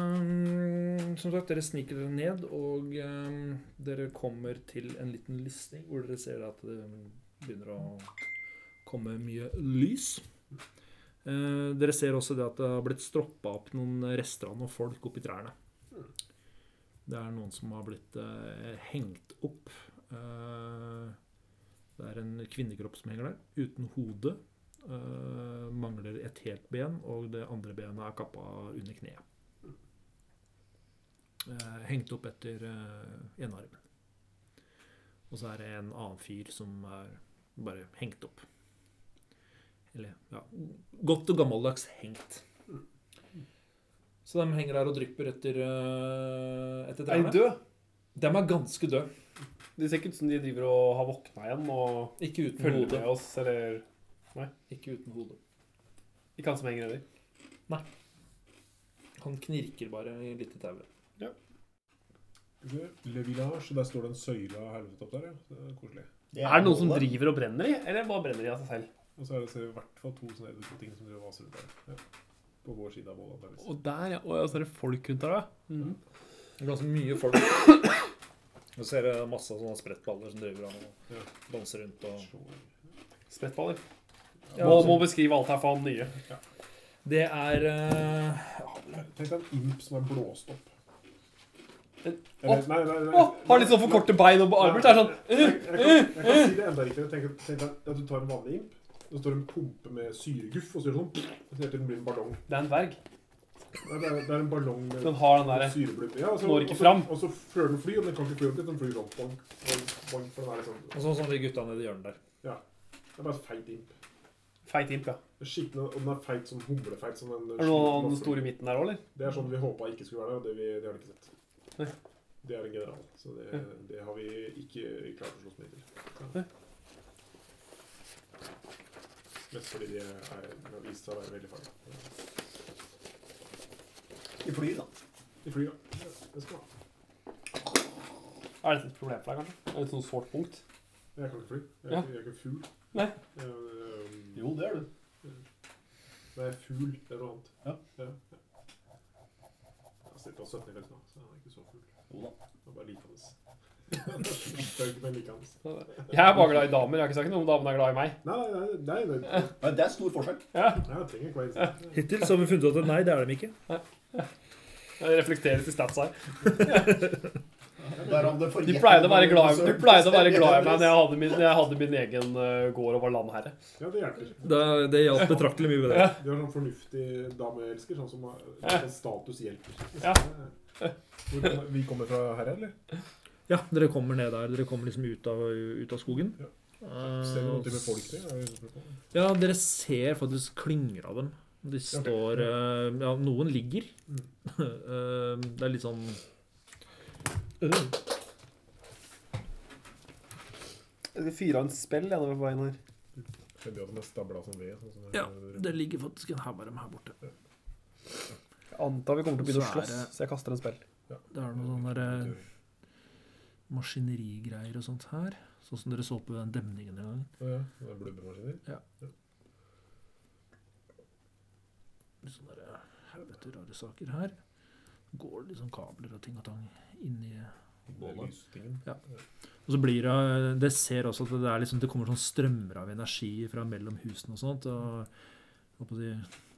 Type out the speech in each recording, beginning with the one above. Ehm, som sagt, dere sniker dere ned, og ehm, dere kommer til en liten listing hvor dere ser at det begynner å komme mye lys. Eh, dere ser også det at det har blitt stroppa opp noen rester av noen folk oppi trærne. Det er noen som har blitt eh, hengt opp. Eh, det er en kvinnekropp som henger der, uten hode. Eh, mangler et helt ben, og det andre benet er kappa under kneet. Eh, hengt opp etter eh, ene armen. Og så er det en annen fyr som er bare hengt opp. Eller ja, godt og gammeldags hengt. Så de henger der og drypper etter, eh, etter Er de trærne. døde? De er ganske døde. Det ser ikke ut som de driver og har våkna igjen og Ikke uten følger hode. med oss, eller Ikke uten hode. Ikke han som henger nedi. Han knirker bare i litt i tauet. Le Village, der står det en søyle av helvete opp der, ja. Det er koselig. Er det noen som driver og brenner i, eller bare brenner de av seg selv? Og så er det så i hvert fall to sånne eldre ting som driver og vaser rundt der. Ja. På vår side av bålet. antageligvis. Og der, ja. Og så er det folk rundt der, ja. Mhm. Det er ganske mye folk. Og så er det masse sånne sprettballer som driver og Ja. danser rundt. Og... Sprettballer. Ja, må, altså- må beskrive alt her for han nye. Det er eh, Tenk deg en imp som er blåst opp. En- Eller- nei, nei, nei, Å, har litt sånn for korte bein og armer. så er det sånn øh, Jeg, jeg, kan, jeg kan si det enda riktigere. Tenk, tenk deg at du tar en vanlig imp. Så står det en pumpe med syreguff, og så gjør du sånn Og så helt til den blir en ballong. Det er en dverg. Nei, det, er, det er en ballong med Den har den derre syreblubb. Ja, og så- Sånn når ikke og så- fram. Og så føler den fly, og den kan ikke fly ordentlig. Den flyr sånn bong, bong, bong, for den er liksom og sånn som de gutta nede i hjørnet der. Det er bare en feit imp. feit imp, ja. Den er Skikkelig, og den er feit som humlefeit. Som en Er det noen, noen store i midten der òg, eller? Det er sånn vi håpa ikke skulle være der, og det, vi, det har vi ikke sett. Nei. Det er en general, så det, Ja. det har vi ikke klart å slåss med hittil. Nei. Mest fordi de er, har vist seg å være veldig farlige. I fly, da. De flyr, ja. Det skal man ha. Er dette et problem for deg, kanskje? Er det et sånt sårt punkt? Jeg kan ikke fly. Jeg er, Ja. ikke, Um, jeg er ikke fugl. Nei. Jeg, øhm, Jo, det er du. Nei, jeg er fugl. Det er noe annet. Ja. ja. ja. Jeg har stilt av 17 i felt nå, så han er ikke så fugl. Jo da. Han er bare likende. Det er ikke mer likende. Jeg er bare glad i damer. Jeg har ikke sagt noe om damene er glad i meg. Nei, nei, nei. nei, nei. Nei, det er stor forskjell. Ja, Nei, jeg trenger ikke være innstilt. Hittil så har vi funnet ut at nei, det er dem ikke. Det reflekteres i statsa her. Derav det Du pleide å være glad i, du pleide å være glad i meg når jeg hadde min, når jeg hadde min egen eh, gård og var landherre. Ja, det hjelper. Det, det hjalp betraktelig mye med det. De har sånn fornuftig dameelsker, sånn som har- sånn status hjelper. Ja. Hvor kommer- Vi kommer fra her, eller? Ja, dere kommer ned der. Dere kommer liksom ut av, ut av skogen. Ja. Eh, Ser vi noen type folk der? Er det- ja, dere ser faktisk klynger av dem. De står eh, Ja, noen ligger. Eh, det er litt sånn Jeg skal fyre av en spell jeg, når vi er på veien her. Men de hadde mest stabla som ved. Sånn som Ja, Det ligger faktisk en haug av dem her borte. Jeg antar vi kommer til å begynne å Så er slåss, så jeg kaster en spell. Det er noe sånn derre maskinerigreier og sånt her. Sånn som dere så på den demningen en gang. Ja, ja. det er Blubbemaskiner. Litt sånn der, helvete rare saker her. Går det liksom kabler og ting og tang inni Det er Lystingen. Og så blir det Det ser også at det, er liksom, det kommer sånn strømmer av energi fra mellom husene og sånt. Og jeg håper de,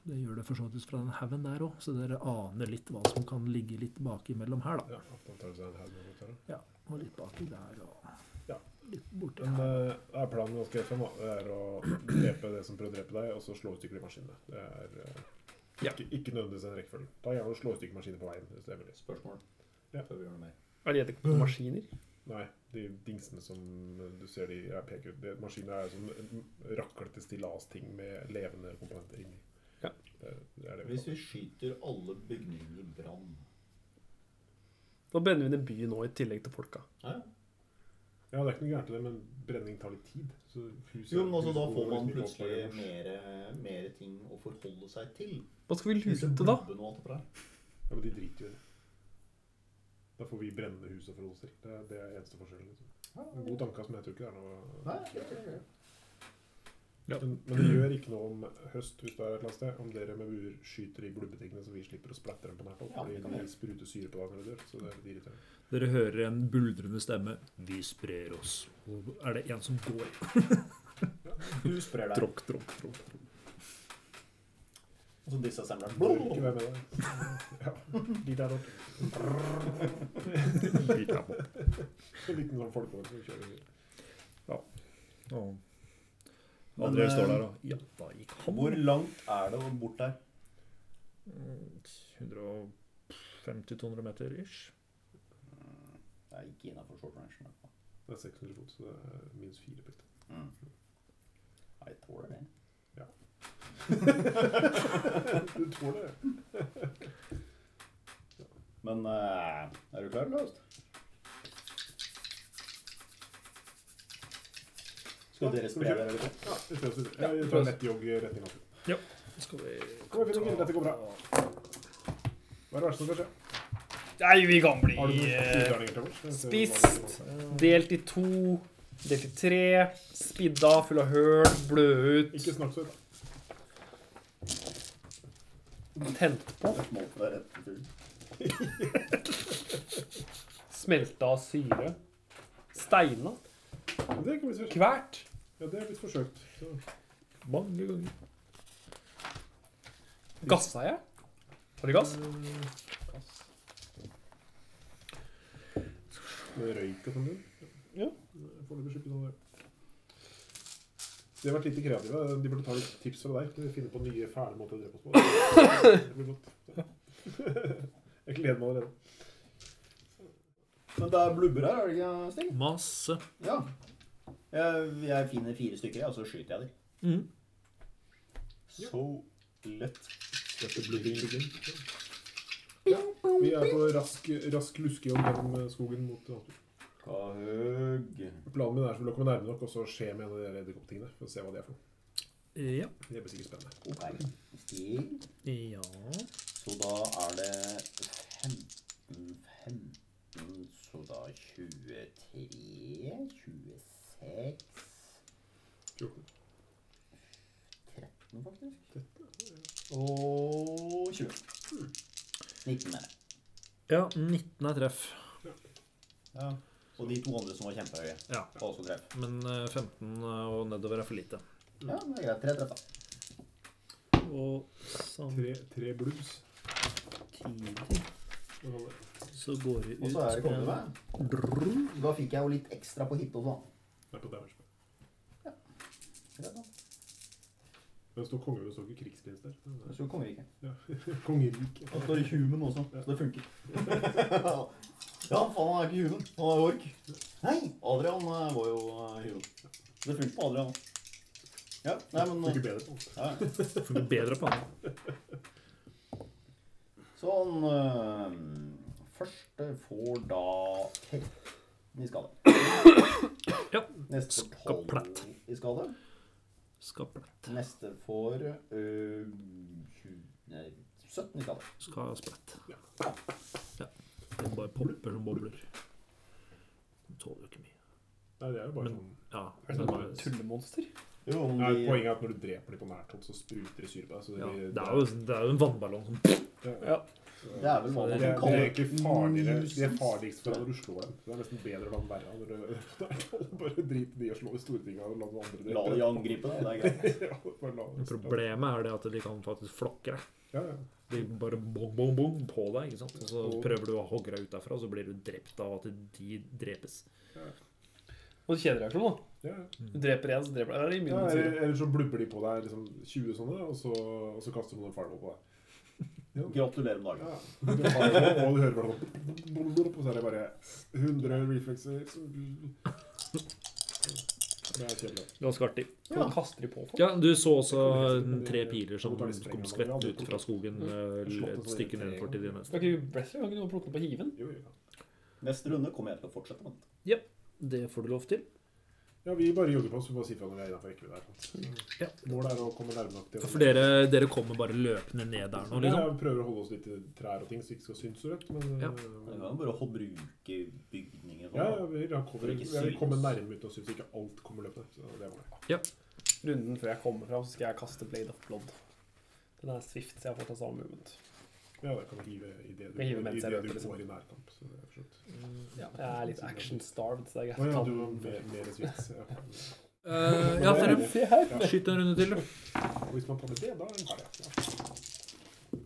det gjør det for så vidt fra den haugen der òg, så dere aner litt hva som kan ligge litt baki mellom her, da. Ja, at man tar seg en helg med det. Og litt baki der og Ja. litt borti Men her. eh, er planen ganske greit, da? Det er å drepe det som prøver å drepe deg, og så slå i stykker de maskinene. Det er eh, Ja. ikke, ikke nødvendigvis en rekkefølge. Da gjerne å slå i stykker maskiner på veien. Hvis det er mulig. Spørsmål. Ja. Før vi gjør noe mer. Er det Mm. edderkoppmaskiner? Nei, de dingsene som du ser de er peker ut. Det- Maskiner er sånn raklete stillasting med levende komponenter inni. Ja. Det, det er det vi Hvis kaller vi skyter alle bygninger i brann Nå brenner vi ned byen nå i tillegg til folka. Nei, det. Ja, det er ikke noe gærent i det, men brenning tar litt tid. Så huset, Jo, men altså, da hus- får man hus- hus- plutselig hus- mer, eh, mer ting å forholde seg til. Hva skal vi Disse lute, da? blubbene og alt det der. Ja, men de driter jo i det. Da får vi brennende hus å forholde oss til. Det er, det er eneste forskjellen. Liksom. En god tanke, men jeg tror ikke det er noe Nei, Ja. Men, men det gjør ikke noe om høst hvis det er et eller annet sted, om dere med bur skyter i glubbetingene, så vi slipper å splatte dem på nært hold. Ja, det fordi kan vi de gjøre. spruter syre på deg når du dør. Så det er litt irriterende. eh, Dere hører en buldrende stemme. Vi sprer oss. Og er det en som går? Du sprer deg. Tråkk, tråkk, tråkk. tråkk. Og så disassembleren. Du bør ikke være med der. Ja, de der oppe. Bit av opp. En liten sånn folkevogn som kjører. Og Men, André eh, står der og Ja, da gikk han. Hvor langt er det bort der? Mm, 150-200 meter ish. Det er ikke innafor short range. i hvert fall. Det er 600 fot, så det er minus fire blitt. Mm. Nei, Jeg tåler det. Du tror det? Men eh, er du klar, Blåst? Skal dere spre dere litt? Ja, vi sprer oss ut. Ja, vi tar en lett jogg i retning av Skal vi Kom igjen, Finn, dette går bra. Hva er det verste som kan skje? Nei, vi kan bli Har du noen eh, utdanninger til oss? spist. delt i to, delt i tre, spidda, full av høl, bløde ut, Ikke snakk så høyt. da. tent på, Måten er rett på turen. smelta av syre, steina, Men Det kan bli svært. kvært. Ja, det er blitt forsøkt. Så. Mange ganger. Gassa jeg? Har du gass? Med røyk og sånn. du. Ja. Foreløpig sluppet sånn der. De har vært lite kreative. De burde ta litt tips fra deg. Kan vi Finne på nye fæle måter å drepe oss på. Det blir godt. Jeg gleder meg allerede. Men det er blubber her, er det ikke, Sting? Masse. Ja. Jeg, jeg finner fire stykker, og så skyter jeg dem. Mhm. Så lett. Dette blir ikke begynn. Ja, vi er på rask, rask luskejogg gjennom eh, skogen mot natur. Kahøg. Planen min er selvfølgelig å komme nærme nok og så skje med en av de der edderkopptingene. For å se hva de er for noe. Ja. Det blir sikkert spennende. Ok. Stig. Ja Så da er det 15, 15 Så da 23, 26 14. 13 faktisk. Hmm. Og 20. 19 er det. Ja, 19 er treff. Ja. Og de to andre som var kjempehøye. Ja. var Også treff. Men eh, 15 og nedover er for lite. Ja, det er greit. Tre treff, da. Og sammen Tre, tre blues. så går vi ut Og så er det kommet med. Drrrr. Da fikk jeg jo litt ekstra på hit også, da. Det er på damage. Greit, da. Men det står konge, det står ikke krigsprins der. Det står kongeriket. Kongerike. Og det står human også, så det funker. ja, faen, han er ikke human. Han er ork. Nei, Adrian eh, var jo eh, human. Det funker på Adrian òg. Ja, nei, men Ikke eh, bedre på. ja. ja. Funker bedre på han. Så han eh, første får da 13 i skade. Ja. Neste får 12 Skaplett. i skade. Skaplett. Neste får eh, 20, nei, 17 i skade. Skal splett. Ja. Den bare popper som bobler. Den tåler jo ikke mye. Nei, det er jo bare Men- sånn Ja. Er det den sånn bare- Tullemonster. Jo, om Nei, de- Poenget er at når du dreper dem på nært hold, så spruter det syre på deg. Så det, ja. blir- Det, er jo, det er jo en vannballong som Ja, ja. Ja. Det er vel hva Det, man er, det er kan kalle egentlig farligere Det er farligst for deg når du slår dem. Det er nesten bedre å la dem være. Når du, bare drit i de og slå de store tinga og la noen andre La de angripe deg, det er greit. Ja, bare la dem. Problemet er det at de kan faktisk flokke deg. Ja, ja. De bare bong, bong, bong på deg, ikke sant. Og så Og- prøver du å hogge deg ut derfra, og så blir du drept av at de drepes. Og kjedereaksjon, da. ja. Du dreper én, så dreper du. Eller i ja munnen eller, syre. eller så blubber de på deg liksom 20 sånne, og så, og så kaster de noen fireball på deg. Gratulerer med Ja. dagen. Du fireball, og du hører bare sånn Og så er det bare 100 reflekser. Det er kjedelig. Ganske artig. Ja. Kaster de på folk? Ja, du så også tre piler som kom skvett ut fra skogen eh, et stykke nedenfor til de neste. Skal ikke Breathy kan ikke noen plukke den på hiven? Jo, jo. Neste runde kommer jeg til å fortsette med. det. Det får du lov til. Ja, vi bare jogger på oss. Vi bare sier fra når vi er innafor rekkevidde. her. Ja. Målet er å komme nærme nok til For dere, dere kommer bare løpende ned der nå, Ja, liksom? jeg prøver å holde oss litt i trær og ting, så vi ikke skal synes så rett. Men Ja. Men Vi ja. kan jo bare ho- bruke sånn. bygninger for Ja, ja, vi, har kommer, For ikke vi har synes. kommet nærme uten å synes ikke alt kommer løpende. Så det var det. Ja. runden før jeg kommer fram, så skal jeg kaste Blade of Blood. Den er swift, så jeg får ta samme movement. Ja, det kan du hive i det du, Jeg hiver i mens jeg det løper, du liksom. går i nærkamp. Så det er forstått. Ja, jeg er litt action-starved, så det er Å greit. å ja, ta du har den mer, før. mer svits. Ja. Eh, ja, dere. Se her. Skyt en runde til, du. Og hvis man kommer det, da er den ferdig. Ja. Bu,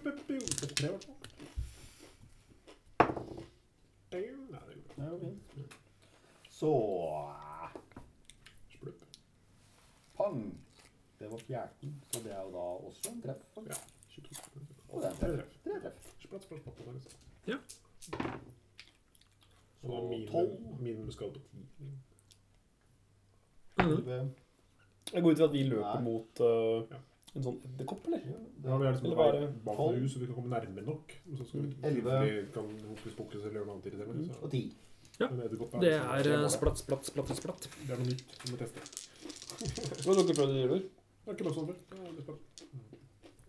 bu, bu. Det er tre, i hvert fall. Bam. Nei, det er jo- Ja, det var fint. Så splupp. pang! Det var 14, så det er jo da også en treff. Ja, 22. Og det er en Tre treff. treff. Tre treff. Splatt, splatt, splatt. der, liksom. Ja. Så da er minimum- Tolv. Minimum skal på ti. Mhm. Det- Jeg går ut fra at vi løper Nei. mot øh, Ja. en sånn edderkopp, eller? ja, Ja, vi det- er liksom Eller bare bare bak tolv. Mm, noen hus, så vi kan komme nærmere nok. Men Så skal vi Elleve. Mm, vi kan hokus pokus eller gjøre noe annet irriterende. Så. Og ti. Ja, Men edderkopp Det liksom- er eh, bare- splatt, splatt, splatt, splatt. Det er noe nytt vi må teste. Hva dere prøvde å gjøre? Jeg har ikke løst sånn før. Ja, det er spennende.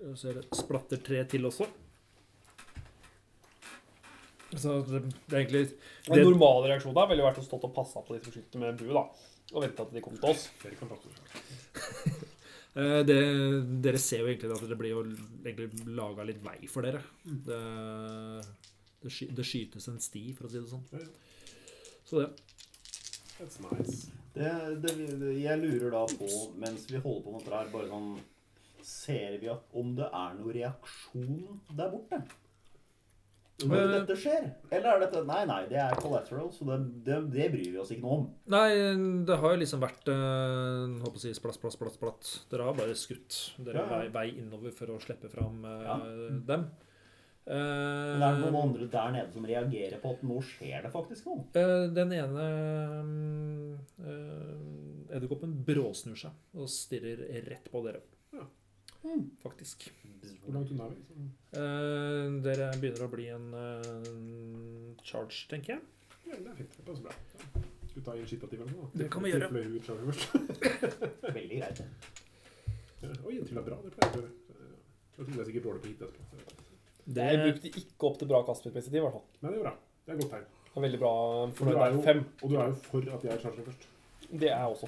Og Så er det splatter tre til også. Så det det er egentlig Den normale reaksjonen der ville jo vært å stått og passa på de som skyter med bue, da. Og vente at de kom til oss. Dere kan prate om det. Eh, det, dere ser jo egentlig at det blir jo egentlig laga litt vei for dere. Mm. Det, det, sky, det skytes en sti, for å si det sånn. Ja, ja. Så det. That's nice. Det, det, det, jeg lurer da på, mens vi holder på med dette her, bare sånn Ser vi at om det er noen reaksjon der borte? Når Eh. dette skjer? Eller er dette Nei, nei, det er collateral, så det, det, det bryr vi oss ikke noe om. Nei, det har jo liksom vært eh, håper å si, splatt, splatt, splatt, splatt. Dere har bare skutt. Dere Ja, ja. har vei, vei innover for å slippe fram eh, Ja. dem. Eh, Men er det noen andre der nede som reagerer på at nå skjer det faktisk noe? Eh, den ene mm, eh, edderkoppen bråsnur seg og stirrer rett på dere. Ja. Faktisk. Hvor langt unna er vi? Sånn- Så- Eh, dere begynner å bli en eh, charge, tenker jeg. Ja, men det er fint. Det passer bra. Ja. Skal vi ta initiativ eller noe? da? Det kan vi gjøre. Tilfelle hun klarer først. Veldig greit. Ja. Oi, en til er bra. Det pleier jeg å gjøre. Jeg tror jeg er sikkert dårlig på hit etterpå. så jeg vet ikke. Det, Jeg brukte ikke opp til bra kastperspektiv, i hvert fall. Men det er bra. Det er et godt tegn. Det er Veldig bra. Og du For det er er jo- fem. Og du er jo for at jeg charger først. Det er jeg også.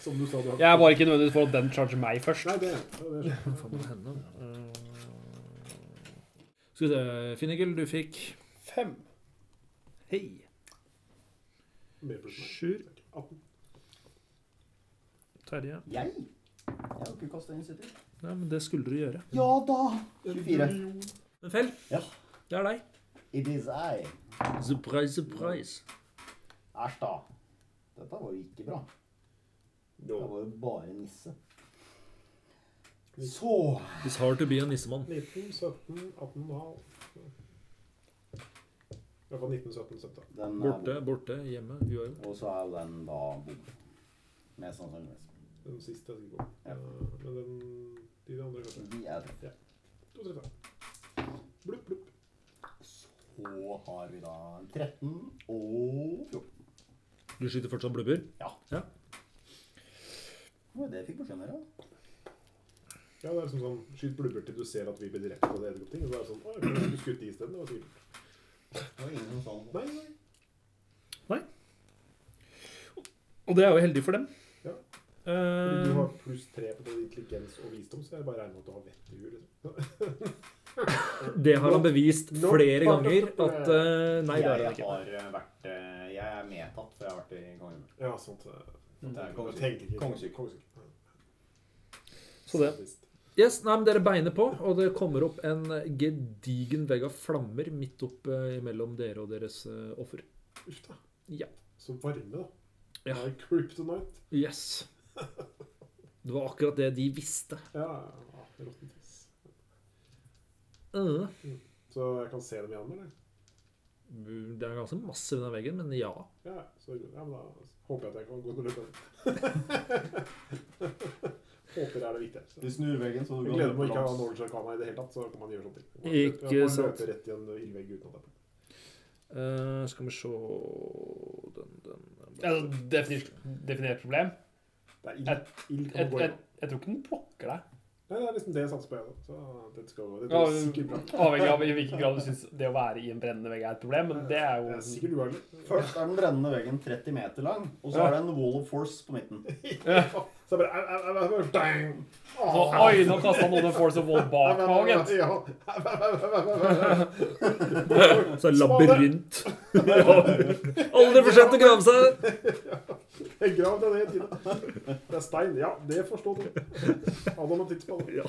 Som du sa du har Jeg er bare ikke nødvendigvis for at den charger meg først. Nei, det er ja, det. Er, Hva faen var det henne? Eh, skal vi se Finnegil, du fikk Fem. Hei. mer pluss meg. Sjur. 18. Terje. Jeg? Jeg har ikke kastet initiativ. Nei, men det skulle du gjøre. Ja da! 24. Men Fell, Ja. det er deg. It is I. Surprise, surprise. Æsj, da. Dette var jo ikke bra. Det var jo bare nisse. Så It's hard to be a nissemann. 19, 17, 18 og halv. I hvert fall 19, 17, 17. den er Borte, borte, hjemme, uavgjort. Og så er jo den da bom. Mest sannsynligvis. Den siste er sikkert god. Ja. Eh, Men den, de andre kanskje. De er treffet. To, tre, fem. Blupp, blupp. Så har vi da 13 og 14. Du skyter fortsatt blubber? Ja. Ja. Det var det jeg fikk beskjed om her, da. Ja, det er liksom sånn, skyt blubber til du ser at vi blir drept av det edderkoppting. Og så er det sånn, å, jeg kunne skutt de i stedet. Det var sikkert. Det var ingen sånn- som sa noe. Nei, nei. Og det er jo heldig for dem. Ja. Fordi du Eh, har pluss tre på både intelligens og visdom, så jeg bare regner med at du har vett i huet. Liksom. det har han bevist Nå- flere ganger at eh, Nei, det jeg, har han ikke. har eh, vært eh, Jeg er medtatt, for jeg har vært i kongen. Ja, sant. eh, Mm. Det er Jeg tenker ikke. Kongesyk. Kongesyk. Ja. Så det. Visst. Yes, nei, men Dere beiner på, og det kommer opp en gedigen vegg av flammer midt opp eh, mellom dere og deres eh, offer. Uff da. Ja. Så varme, da. Ja. Det er kryptonite. Yes. Det var akkurat det de visste. Ja, ja, ja, råttent tiss. Eh, Så jeg kan se dem igjen, eller? Det er ganske massiv, den veggen, men ja. Ja, så, ja, men da håper jeg at jeg kan gå til løpet. håper det er det viktigste. Du snur veggen, så du Jeg gleder meg å ikke ha knowledge arcana i det hele tatt, så kan man gjøre sånne ting. Man Ikke løper- man sant. Løper rett i en ildvegg uten at det er på. Eh, skal vi se den, den, Ja, definert, definert problem. Det er ild. Ild Jeg, kan gå jeg, gjennom. jeg tror ikke den plukker deg. Nei, det er liksom det jeg satser på, jeg. da. Så dette skal gå. Dette Ja, går sikkert bra. Avhengig av i hvilken grad du syns det å være i en brennende vegg er et problem, men det er Det jo er sikkert uærlig. Først er den brennende veggen 30 meter lang, og så er det en wall of force på midten. Så jeg bare au, au, au, au, dang! Ah, Nå, Altså, Oi, nå kasta noen en Force of Wall bak meg, gitt. Ja. eh, Au, au, au, au, au, au. Så er labyrint. Aldri for sent å grave seg! Jeg grav deg ned i tiden. Det er stein. Ja, det forstår du. Adam har titt på det. Ja.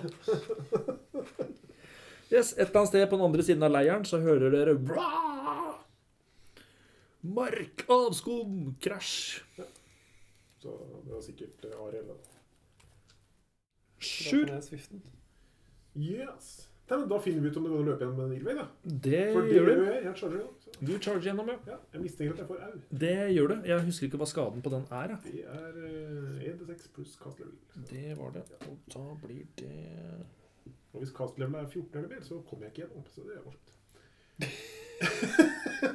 Yes, et eller annet sted på den andre siden av leiren så hører dere Bra! Mark, avskum, krasj. Så det var sikkert eh, Ariel. da. Sjur. Yes. Nei, men da finner vi ut om det går an å løpe igjen med en ildvei, da. Det For Eh, det gjør gjør du. jeg. Jeg charger jo. Så, Du charger gjennom, ja. ja, jeg mistenker at jeg får au. Det gjør du. Jeg husker ikke hva skaden på den er. jeg. Det er eh, 1D6 pluss cast level. Det var det. Og da blir det Og hvis cast level er 14 eller mer, så kommer jeg ikke gjennom. Så det er morsomt.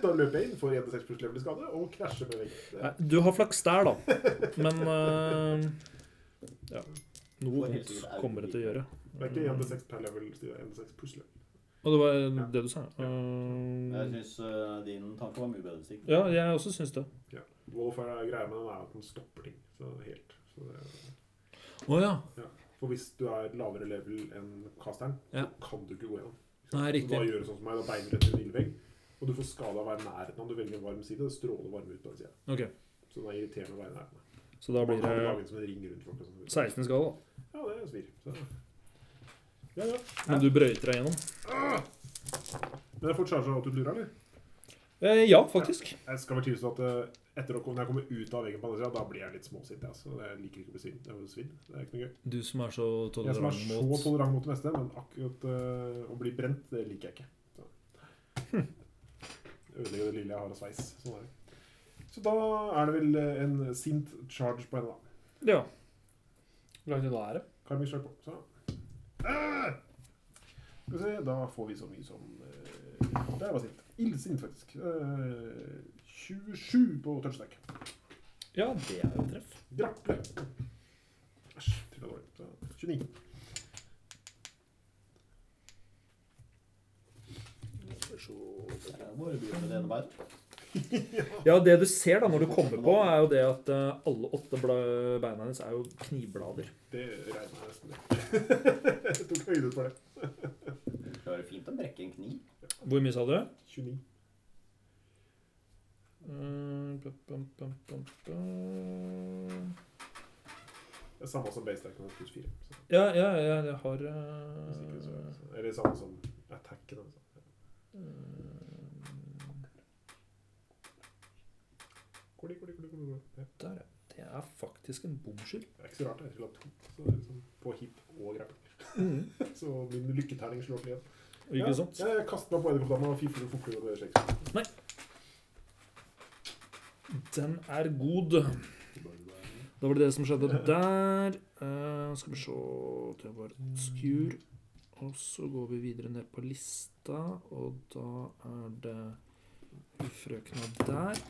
da løper jeg inn, får 1D6 pluss level i skade og krasjer med veggen. Det Nei, du har flaks der, da. Men eh, ja. Noe Får helt vondt sikkert au. kommer det til å gjøre. Det er ikke 1D6 per level, det er 1D6 pluss level. Og det var det du sa. Jeg eh, syns din tanke var mye bedre, Stig. ja, jeg også syns det. Wolf er greia med den er at den stopper ting. Så helt. Så det er... Å ja. For hvis du er lavere level enn casteren, Ja. så kan du ikke gå gjennom. Nei, Så da riktig. gjør du sånn som meg, da beiner du etter en ildvegg. Og du får skade av å være i nærheten av du velger en varm side. Det stråler varme ut på den sida. Ok, Så det er irriterende å være i nærheten. Så da blir Man kan det lage en sånn ring rundt folk og sånn. 16 skade, da. Ja, det svir. Så. Ja, ja. Men du brøyter deg gjennom? Men jeg får charge av at du lurer, eller? Eh, ja, faktisk. Jeg skal vel tilstå at eh, etter å komme, når jeg kommer ut av veggen på den sida, da blir jeg litt småsint. jeg, Altså. Jeg liker ikke å bli sint. Jeg blir svidd. Det er ikke noe gøy. Du som er så Jeg som er tolerant så mot tolerant mot det meste, men akkurat eh, å bli brent, det liker jeg ikke. Så. Ødelegger det lille jeg har av sveis. Sånn er det. Så da er det vel eh, en sint charge på henne, da. Ja. Hvor langt unna er det? Kan vi kjøre på? Så. Eh! Skal vi se, da får vi så mye som eh, Der var sint. Illsint, faktisk. Eh, 27 på touchstack. ja, det er jo treff. Grappe. Æsj, trilla dårlig. Så, 29. Det er Bare å begynne med det ene beinet. Ja, det du ser da når du kommer på, er jo det at eh, alle åtte bla- beina hennes er jo knivblader. Det regner jeg nesten med. jeg tok høyde for det. Du klarer fint å brekke en kniv. Hvor mye sa du? 29. Mm, pam, pam, pam, pam, pam. Det er samme som base attack med pluss 4. Så, Ja, ja, ja, jeg har hvis ikke, eh, så, eller samme som attacken. Altså. Eh. Koli, koli, koli, koli, koli. Ja, Der, ja. Det er faktisk en bomskyld. Det er ikke så rart. Jeg skulle ha to så det er liksom, på hip og grapple. så min lykketerning slår til igjen. Mm. Ikke sant? Ja, jeg kaster meg på edderkoppdama og fifler og fukler og det skjer ikke. Den er god. Da var det det som skjedde der. Eh, skal vi se Det var skur. Og så går vi videre ned på lista, og da er det hun frøkna der.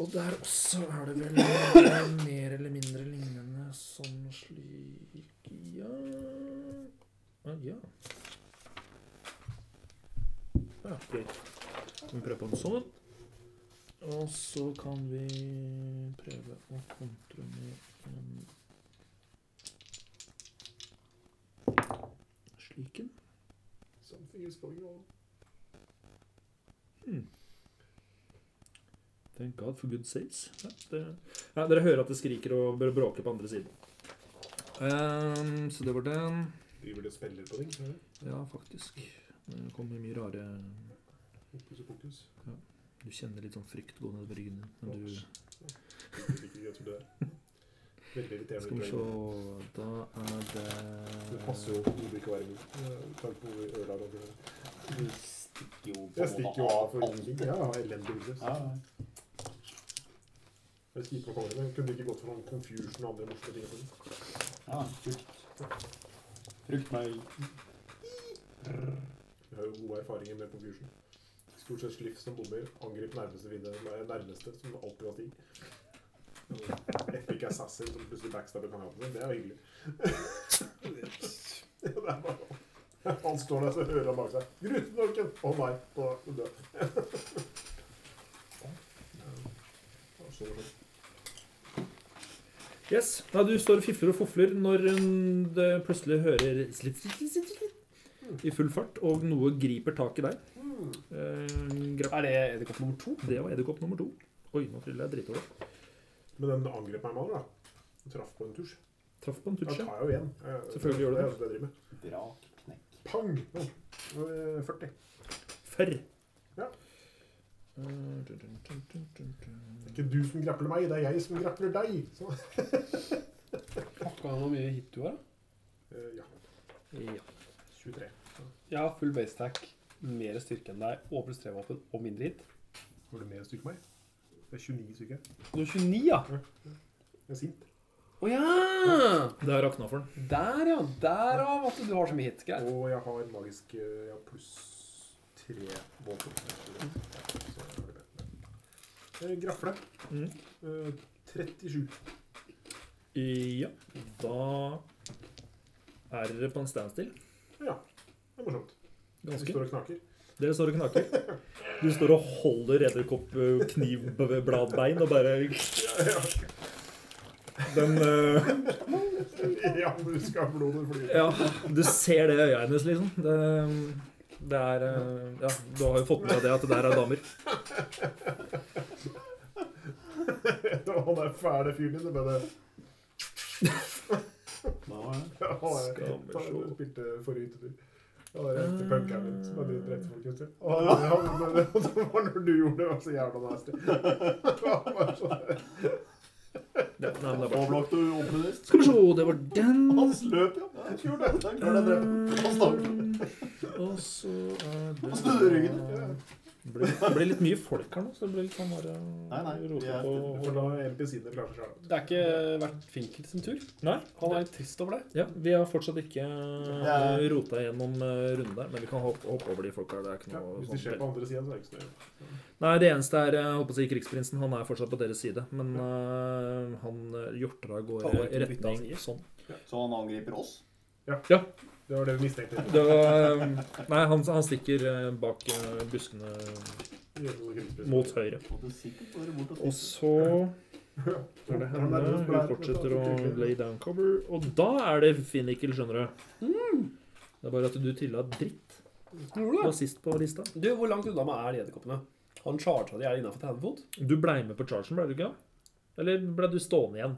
Og der også er det vel noe mer eller mindre lignende sånn slik Ja Ah, Ja. ja greit. Kan vi prøve på en sånn? Og så kan vi prøve å kontre med en slik en. Something is going on. Thank God for good saves. Ja, det, ja, dere hører at det skriker og bør bråke på andre siden. Ehm, så det var den. Driver det og spiller på ting? ser du? Ja, faktisk. Det kommer mye rare Fokus og fokus. Du kjenner litt sånn frykt gå nedover ryggen din. Men du Det er ikke greit som det er. Veldig irriterende. Skal vi se utlegg. Da er det Det passer jo overhodet ikke å være min. Takk for øla. da. Du stikker jo på Jeg stikker jo av for alt. ingenting. Jeg har elendig hode. Ja, ja. Jeg er kjip på kamera, men Kunne ikke gått for noen confusion og andre morsomme ting. og sånn. ja, frukt. Frukt meg. Jeg har jo gode erfaringer med confusion. Stort sett sliff som bommer. Angrip nærmeste vinner. Nærmeste, som alltid har stig. Epic Assassin som plutselig backstabber kongen sin. Det er jo hyggelig. Ja, det er bare... sånn. Han står der så hører han bak seg. Grutenorken! Å nei, da er du død. Ja, så var det. sånn. Yes. Nei, du står og fifler og fofler når mm, det plutselig hører slitt, slitt, slitt, slitt, slitt i full fart, og noe griper tak i deg. Hmm. Eh, grap- Er det edderkopp nummer to? det var edderkopp nummer to. Oi, nå triller jeg dritover. Men den angrep meg med alle, da. Den traff på en tusj. Traff på en Da tusj. ja. tar jeg jo igjen. Jeg- Selvfølgelig gjør du det. er jo det jeg driver med. Drak, knekk. Pang! Nå. Nå er det 40. Før. Ja. Eh, dun, dun, dun, dun, dun, dun. Det er ikke du som grappler meg, det er jeg som grappler deg. Så, Pakka han hvor mye hit du har? da? eh, ja. Ja. 23. Jeg har full basetack, mer styrke enn deg, og pluss tre-våpen og mindre hit. Var det mer styrke enn meg? Det er 29 stykker. Du har 29, ja! Jeg er sint. Å ja! Det er rakna for den. Der, ja. Derav at du har så mye hit. Greit. Og jeg har magisk eh, Jeg har pluss tre våpen. Så jeg har det bedre. Eh, Grafle. Mhm. Eh, 37. Ja. Da er dere på en standstill. Ja, det er morsomt. Vi Ganske. står og knaker. Dere står og knaker. Du står og holder edderkoppknivbladbein og bare Den eh, ja, du skal ha blodet fly. Ja, du ser det i øya hennes, liksom. Det, det er eh, Ja, du har jo fått med deg det at det der er damer. Han er fæle fyren din. Men det Da var det. ja, han er- Skal vi da- se. du spilte forrige utetur. Ja, det er rett til punkeren min som er litt rett for kunstner. Ah, Og han- han- det var når du gjorde det, det var så jævla nasty. Han var sånn så- Ja, nei, men det er bra. Avlagt og oppryddet. Skal vi se, det var den. Han sløp, ja. Jeg gjorde det. Jeg klarte jeg drepte ham. Han stakk. Eh, Og så er det Han snudde ryggen. Ja. Det ble, det ble litt mye folk her nå, så det ble litt sånn bare Nei, nei, rote vi er- på For da er NPC-ene klare for seg. Det er ikke vært Finkel sin tur. Nei. Han er litt trist over det. Ja, vi har fortsatt ikke Ja. rota gjennom eh, runden der, men vi kan hoppe, hoppe over de folka. Det er ikke Ja, noe hvis de skjer sånn- på andre siden, så er det ikke så nøye. Nei, det eneste er jeg håper å si krigsprinsen. Han er fortsatt på deres side, men eh, han eh, hjortra av Han gårde var ikke i bytta retning i. sånn. Så han angriper oss. Det var det vi mistenkte. Det var, eh, nei, han, han stikker eh, bak eh, buskene sånn mot høyre. Og det sikkert bare bort og Og så er det henne. Hun fortsetter å lay down cover. Og da er det Finnikel, skjønner du. Mm. Det er bare at du trilla dritt. Du var sist på lista. Du, Hvor langt unna meg er de edderkoppene? Han charga de er innafor 30 fot. Du blei med på chargen, blei du ikke? Eller blei du stående igjen?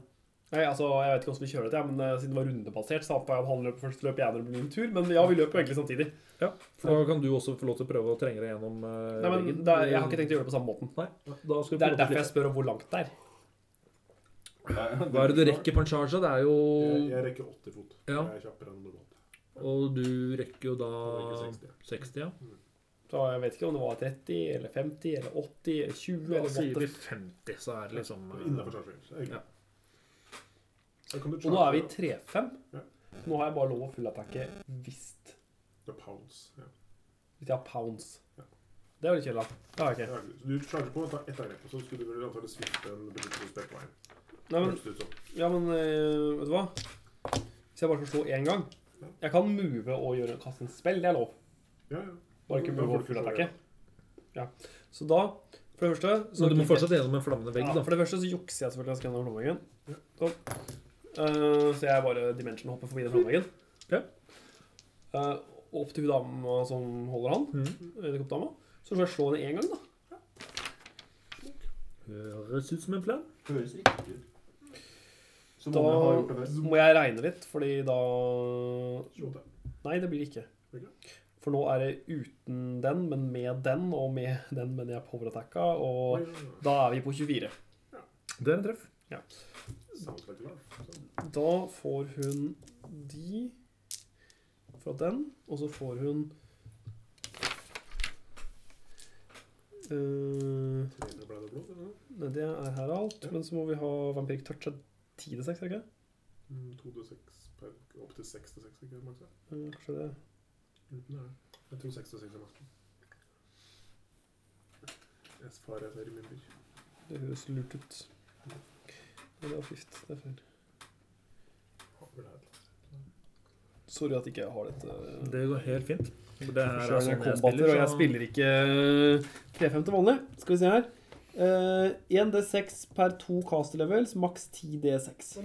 Nei, altså, Jeg vet ikke hvordan vi kjører dette, men eh, siden det var rundebasert, så antar jeg at han løp først, løp jeg når det blir min tur. Men ja, vi løp jo egentlig samtidig. Da kan du også få lov til å prøve å trenge deg gjennom uh, Nei, men det er, Jeg har ikke tenkt å gjøre det på samme måten. Da skal du Det få lov er derfor til å jeg spør om hvor langt det er. Hva er det du rekker på en charge? da? Det er Jeg, jo jeg rekker 80 fot. Ja. Jeg er kjappere enn normalt. Og du rekker jo da Jeg 60, rekker 60. ja. Så jeg vet ikke om det var 30 eller 50 eller 80 eller 20 Da eller sier vi what the- 50, så er det liksom Innenfor chargeren. Ja. Og nå er vi i 3-5. Ja. Nå har jeg bare lov å fullatakke hvis The pounds. Ja. hvis jeg har pounds. Ja. Det er jo litt kjedelig. da. Det har jeg ikke. Ja, Så du charger på, ta ett angrep, og så skulle du vel antakelig svifte en betydelig spekk veien. Nei, men, Høres det ut som. ja, men eh, vet du hva? Hvis jeg bare skal slå én gang Jeg kan move og gjøre, kaste en spill, det er lov. Ja, ja. Bare ikke Da move får og du ikke slå fullatakke. Ja. Så da, for det første så Så du må fortsatt gjennom en flammende vegg, ja, da. For det første så jukser jeg selvfølgelig ganske gjennom lommeveggen. Sånn. Eh, så jeg bare dimension hopper forbi den lommeveggen. Ja. Eh, opp til hun dama som holder han, Mm. Mhm. edderkoppdama. Så skal jeg slå henne én gang, da. Høres ut som en plan. Høres riktig ut. Som Da- om jeg har gjort det før. Så må jeg regne litt, fordi da Slå det. Nei, det blir det ikke. Ikke? For nå er det uten den, men med den, og med den mener jeg powerattacka, og da er vi på 24. Det er en treff. Sounds like love. Sånn. Da får hun de fra den, og så får hun Eh, Trener ble det blod, eller? Nei, det er her alt, men så må vi ha Vampiric Touch av 10 til 6, er det ikke? Mm, to til seks per, opp til seks til seks, ikke maks? Eh, Kanskje det Uten det. Jeg tror seks til seks er maksen. Jeg sparer jeg remember. Det høres lurt ut. Men det var fift. Det er feil. Sorry at ikke jeg har dette. eh, Det går helt fint. For Det her er Selv om jeg sånn er jeg combatter, spiller. og jeg så- spiller ikke 3-5 til vanlig. Skal vi se her. Eh, 1D6 per 2 caster levels, maks 10 D6.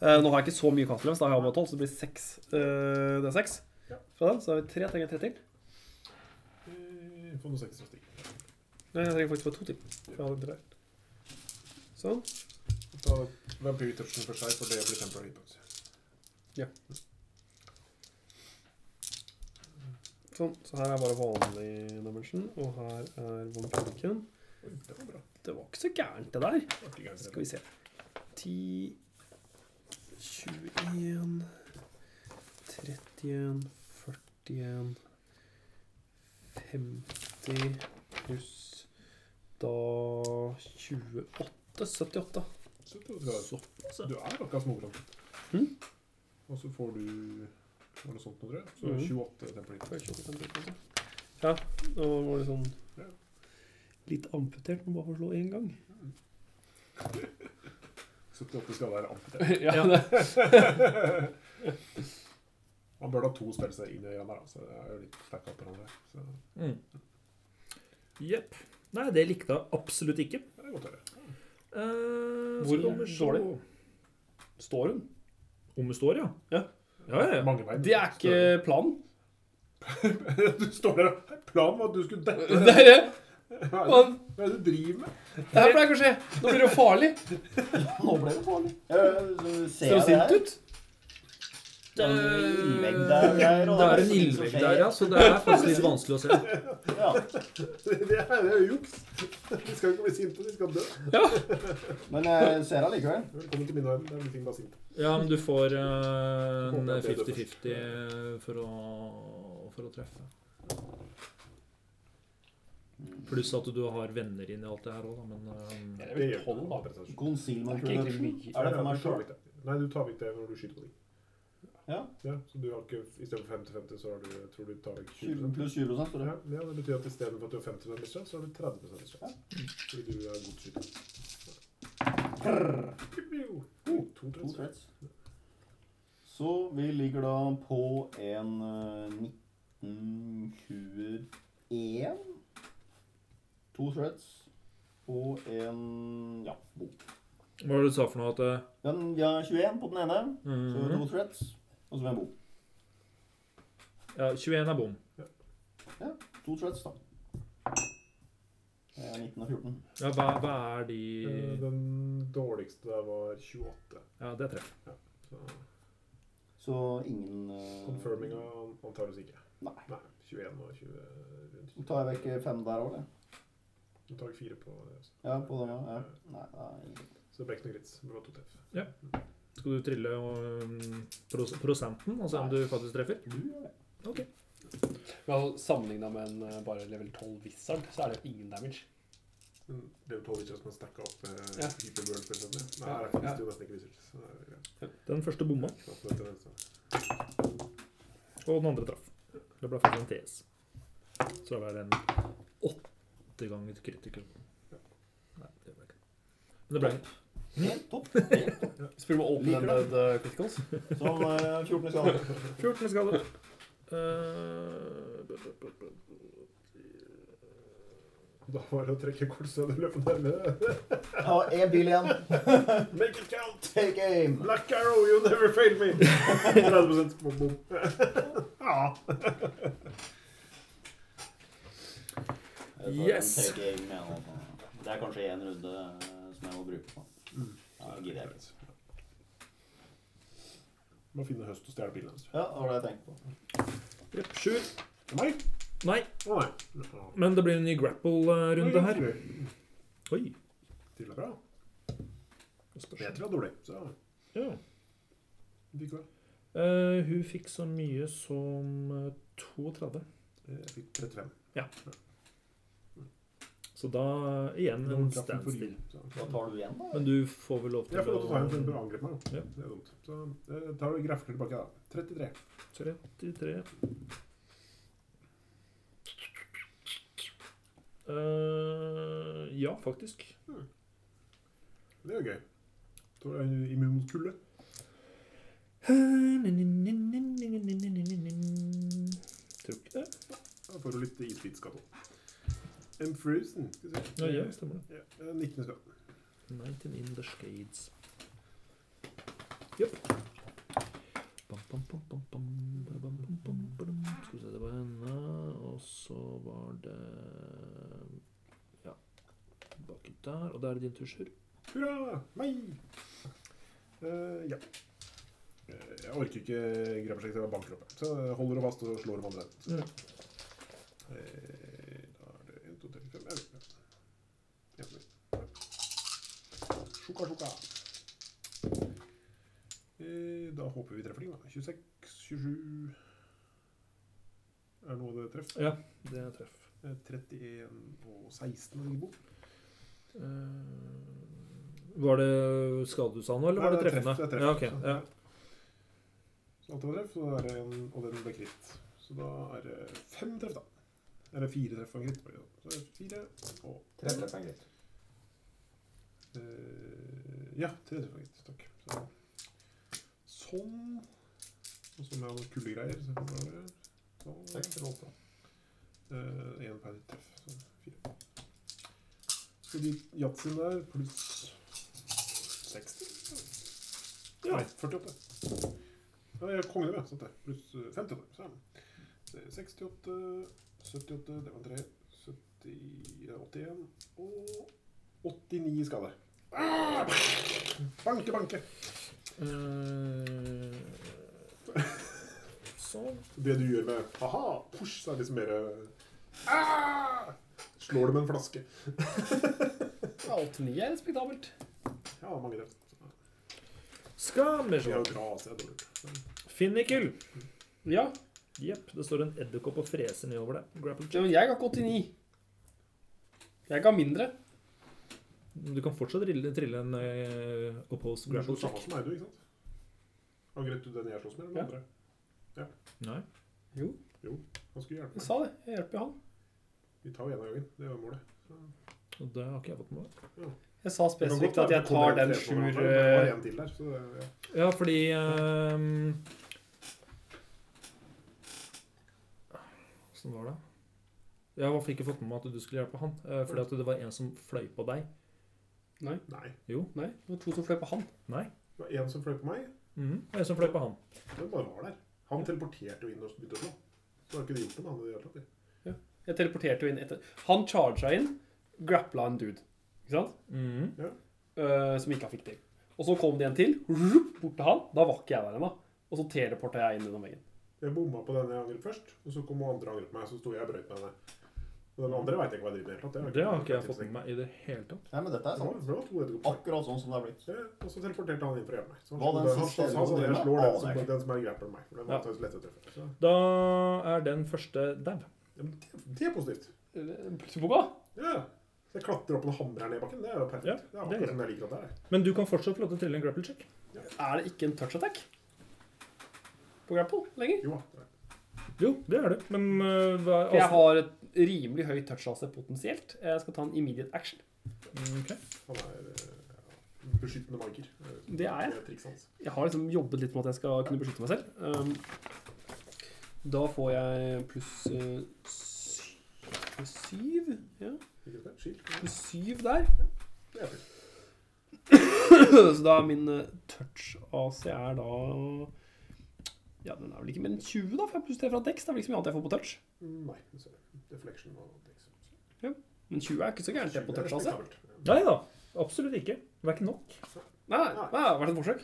Eh, nå har jeg ikke så mye caster levels, da har jeg bare 12, så det blir 6 eh, D6 fra den. Så har vi 3, trenger jeg 3 til. Eh, Få noen ekstra stikk. Nei, jeg trenger faktisk bare 2 til. for jeg hadde ikke der. Sånn. Ta vampyrtouchen for seg, for det blir temporary hitbox. sånn. Så her er bare vanlig dimension, og her er vampyriken. Oi, det var bra. Det var ikke så gærent, det der. Det var ikke gærent. Skal vi se. 10 21 31 41 50 pluss da 28 78. Så du drar- Såpass, ja. Du er akkurat smågrønn. Mm. Og så får du var det noe sånt nå, tror jeg. Så Mm. 28 temporary Var det hitbox. 28, 50, kanskje? Ja, nå var det sånn Ja. Litt amputert, men bare for å slå én gang. 78 skal være amputert. Ja, det Man bør da ha to spillelser inn i øynene, så det er jo litt stack opp hverandre. Så det Mm. Jepp. Nei, det likte jeg absolutt ikke. er godt å høre. Eh, Hvor skal vi se. dårlig? Står hun? Om det står, ja. Ja. Ja, ja, ja. Mange veien. Det er ikke planen. Du står der og Planen var at du skulle dette Det er det. Hva er det- Man, hva er det du driver med? det her pleier ikke å skje. Nå blir det jo farlig. Nå ble det farlig. Eh, Ser du Ser jeg det sint her? ut? Det er en ildvegg der, der, og Det er det en er så mye som ildvegg skjer. der, ja, så det er faktisk litt vanskelig å se. Ja. Det er det er jo juks. De skal ikke bli sinte, de skal dø. Men jeg ser jeg likevel. Velkommen til min verden. Det er vel ting bare sinte. Ja, men du får eh, en Håper jeg bedre 50-50 for, å- for å treffe. Pluss at du har venner inn i alt det her òg, men eh, Jeg vil tolv, da. Concealment Er ikke egentlig protection. like- Er det for tar meg sjøl? vekk det. Nei, du tar vekk det når du skyter på dem. Ja. Ja, så du har ikke, istedenfor 50-50, så har du, tror du tar vekk 20 20 pluss 20 prosent, Ja, tror jeg. ja, det betyr at istedenfor at du har 50 mistra, så har du 30 mistra. Fordi du er god til å skyte. Pew, pew. Oh, to To treffer. threats. Så vi ligger da på en eh, 1921. To threats og en ja, bom. Hva var det du sa for noe? At eh, Den, vi har 21 på den ene, så har mm, vi to threats, og så har vi en bom. ja, 21 er bom. To threats, da. Det er 19 og 14. Ja, hva, hva er de Eh, Den dårligste der var 28. Ja, det er treff. Så Så ingen eh, confirminga antakeligvis ikke. Nei. Nei, 21 og 20 rundt. Så tar jeg vekk fem der òg, eller? Du tar fire på det. også. Eh, Ja, på den, ja. ja. Nei, det er ingen. Så det ble ikke noe grits. Det var to treff. Skal du trille um, pros prosenten og se om du faktisk treffer? Du, eller? Men Sammenligna med en eh, bare level 12 wizard, så er det jo ingen damage. Men det er jo tolv witches som har stacka opp eh, Ja. hyperworld, for eksempel. Nei, Ja, her er faktisk ja. jo nesten ikke wizards. Så det er greit. Den første bomma, Knapt dette, altså. og den andre traff. Det ble faktisk en TS. Så det var en åtte ganger kritiker. Nei, det ble ikke Men det ble en. Helt topp. Helt topp. Spiller med Liker open ended uh, criticals. Så eh, 14 i skade. 14 i skade. Eh, b- b- b- b- Da var det å trekke kortstøvet og løpe nærmere. Og én bil igjen. Make it count! Take aim. Black Arrow, you never fail me! 30 bom, bom. ja. Yes. Take aim igjen, altså. Det er kanskje én runde eh, som jeg må bruke på. Mm. Ja, det gidder jeg ikke. Må finne høst og stjele bilen hans. Ja, det var det jeg tenkte på. Jepp, sju. Nei? Nei, Å nei. Ja. men det blir en ny grapple-runde her. Oi. Til og bra. Jeg Spørs. tror jeg er dårlig, så Ja. likevel. Eh, hun fikk så mye som eh, 32. Eh, Jeg fikk 35. Så da eh, igjen en Noen traff den for standstill. jul, så. Da tar du igjen, da. Men du får vel lov til Jeg får lov til å ta en for å angripe meg. da. Ja. Det er dumt. Så eh, tar du grafler tilbake, da. 33. 33 Eh, Ja, faktisk. Det er jo gøy. Så er du immun mot kulde. Tror ikke det. Da får du litt isbitskade òg. I'm frozen. Skal vi se. Ja, ja, stemmer det. Ja, eh, 19 skade. 19 in the shades. Jepp. Bam, bam, bam, bam, bam, bam, bam, bam, bam, bam. Skal vi se, det var henne, og så var det Ja. Baki der. Og da er det din tur, Sjur. Hurra! Meg! Eh, ja. Eh, Jeg orker ikke grabbersjekk til å banke opp. Så jeg holder og fast og slår om andre. Ja. Eh, Da er det 1, 2, 3, 4, 5, 11. Sjoka, sjoka. Eh, Da håper vi treffer ting, da. 26, 27 Er det noe det treffer? Ja, det er treff. Eh, 31 og 16 er det ikke bok. Eh, var det skade du sa nå, eller var det Nei, er treffende? treff, det er Ja, treff, ok, så- ja. Så alt det var treff, så er det en, og den ble kritt. Så da er det fem treff, da. Eller fire treff og en kritt. var det da. Så er det fire og Tre treff er greit. eh, Ja, tre treff og en kritt. Takk. Så. Sånn. Og så med noen kuldegreier. Så kommer det sånn. Seks eller åtte. Én Eh, per treff. Så fire. Så de yatzyene der pluss 60 Ja, nei, 48. Ja, jeg er kongen, ja. Sant det. Pluss eh, 58. Så er det. det er 68, 78, det var 3. 70, 81 og 89 skader. Ah! Banke, banke! Eh, sånn. Det du gjør med haha, push, så er det liksom mer eh, ah! Slår det med en flaske. Ja, 89 er respektabelt. Ja, mange treff. Skal vi Vi se. har jo bra AC, dårlig. Finnikel. Ja. Jepp, det står en edderkopp og freser nedover deg. Grapple ja, men jeg ga ikke 89. Jeg ga mindre. check. Du kan fortsatt trille, trille en eh, opposed Du er grapple slått samme check. som meg, du, ikke sant? Angret du den jeg slåss med, eller den Ja. andre? Nei. Jo, Han skulle hjelpe jeg meg. sa det. Jeg hjelper jo han. Vi tar jo en av gangen. Det var målet. Og det har ikke jeg fått med meg. Jeg sa Det kan godt spesifikt at være jeg det kommer tar den tre på hverandre, sjur men Det var eh, en til der, så det- ja. Ja, fordi eh, Sånn var det. Jeg har i hvert fall ikke fått med meg at du skulle hjelpe han. eh, fordi at det var en som fløy på deg. Nei. Nei, det var to som fløy på han. Nei. Det var en som fløy på meg. Mhm, Og en som fløy på han. Den bare var der. Han teleporterte jo inn og begynte å slå. Så har ikke det gjort noe med han i det hele tatt. det. Jeg teleporterte jo inn etter Han charga inn, grappla en dude, ikke sant? Mhm. Eh, som ikke han fikk til. Og så kom det en til, rup, bort til han. Da var ikke jeg der ennå. Og så teleporta jeg inn gjennom veggen. Jeg bomma på den jeg angret først, og så kom hun andre og angret meg. Så sto jeg og brøyt med henne. Og den andre veit jeg ikke hva jeg driver med i det hele tatt. Det har ikke jeg fått med meg Ah. i det hele tatt. Nei, men dette er Det var, sant. det var to edderkopper. Akkurat sånn som det er blitt. Ja, Og så teleporterte han inn for å hjelpe meg. Så han Hva slo den den- siste han- han sa edderkoppen det, jeg din slår var? den som, Aner jeg den som er grapperen meg. For den var Ja. antageligvis lett å treffe. Så, Da er den første dau. ja, men det, det er positivt. Eh, Plutseboka. Ja. Så jeg klatrer opp og hamrer her ned i bakken. Det er jo perfekt. Ja, det er det er akkurat som jeg liker at det er. Men du kan fortsatt få lov til å trille en grapple check. Er det ikke en touch attack på grapple lenger? Jo, det er. Jo, det er det. Men øh, hva For jeg har et rimelig høyt touch-AC potensielt. Jeg skal ta en immediate action. Mm, ok. han er eh, ja, beskyttende magiker. Det er jeg. Det er trikset hans. Jeg har liksom jobbet litt med at jeg skal kunne beskytte meg selv. Um, da får jeg pluss eh, sy- pluss syv. Ja, Ikke sant? Skilt. pluss syv der. Det er fint. Så da er min eh, touch AC er da Ja, den er vel ikke mer enn 20, da, for jeg har pluss 3 fra Dex. Det er vel ikke så mye annet jeg får på touch. Nei, det ser jeg. Deflection og liksom. Men 20 er ikke så gærent jeg på touch altså? AC. respektabelt. Nei da. Absolutt ikke. Det er ikke nok. Nei, nei, det har vært et forsøk.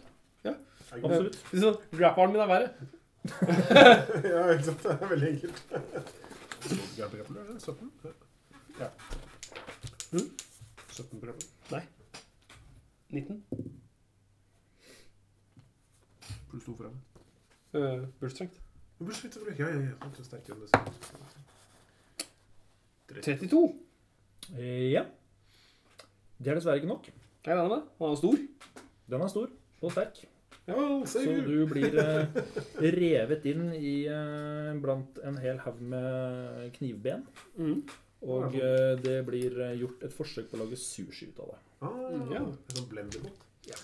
Ja, ikke sant? Absolutt. Så Rapperen min er verre. Ja, eh, ikke sant? Det er veldig enkelt. Grabber grapple, er det? 17? Ja. Hm? 17 på grapple. 19. Pluss to for ham. Uh, Bursdrengt. Du blir slitt, selvfølgelig. Ja, ja, ja. Det er sterkt igjen, det ser ut. 32. Eh, Ja. Det er dessverre ikke nok. Jeg regner med. det. Han er stor. Den er stor og sterk. Ja, altså. Så ser du. du blir eh, revet inn i eh, blant en hel haug med knivben. Mm. Og eh, det blir eh, gjort et forsøk på å lage sushi ut av det. Ah, Ja. en sånn blenderbåt. Ja.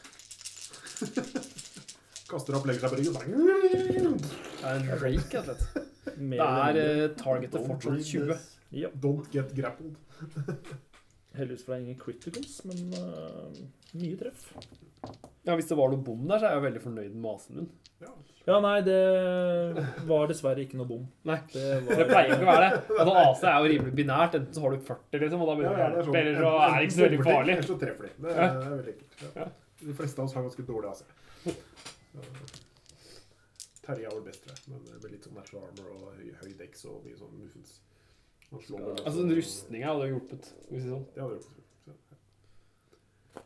Kaster opp, legger seg på ryggen. Det er en rake, rett og slett. Mer Det er eller mindre. eh, targetet fortsatt 20. Ja. Don't get grappled. Heldigvis for det er ingen criticals, men eh, mye treff. Ja, Hvis det var noe bom der, så er jeg jo veldig fornøyd med masen min. Ja. Ja, nei, det var dessverre ikke noe bom. Nei. Det Det var pleier ikke å være det. Altså, AC er jo rimelig binært. Enten så har du 40, liksom, og da Ja, begynner gjerne det å sånn. hjelpe, eller så er det ikke så veldig Bomber de, farlig. Eller så treffer de. Det er, Ja. det er veldig enkelt. Ja. De fleste av oss har ganske dårlig AC. Så- Terje er vel best, tror jeg. Men eh, med litt sånn natural armor og høy, høy dekk og mye sånn muffins. Han slår vel også- Altså, en rustning her hadde jo hjulpet. Skal vi si sånn. Det hadde hjulpet. Så, sånn- ja.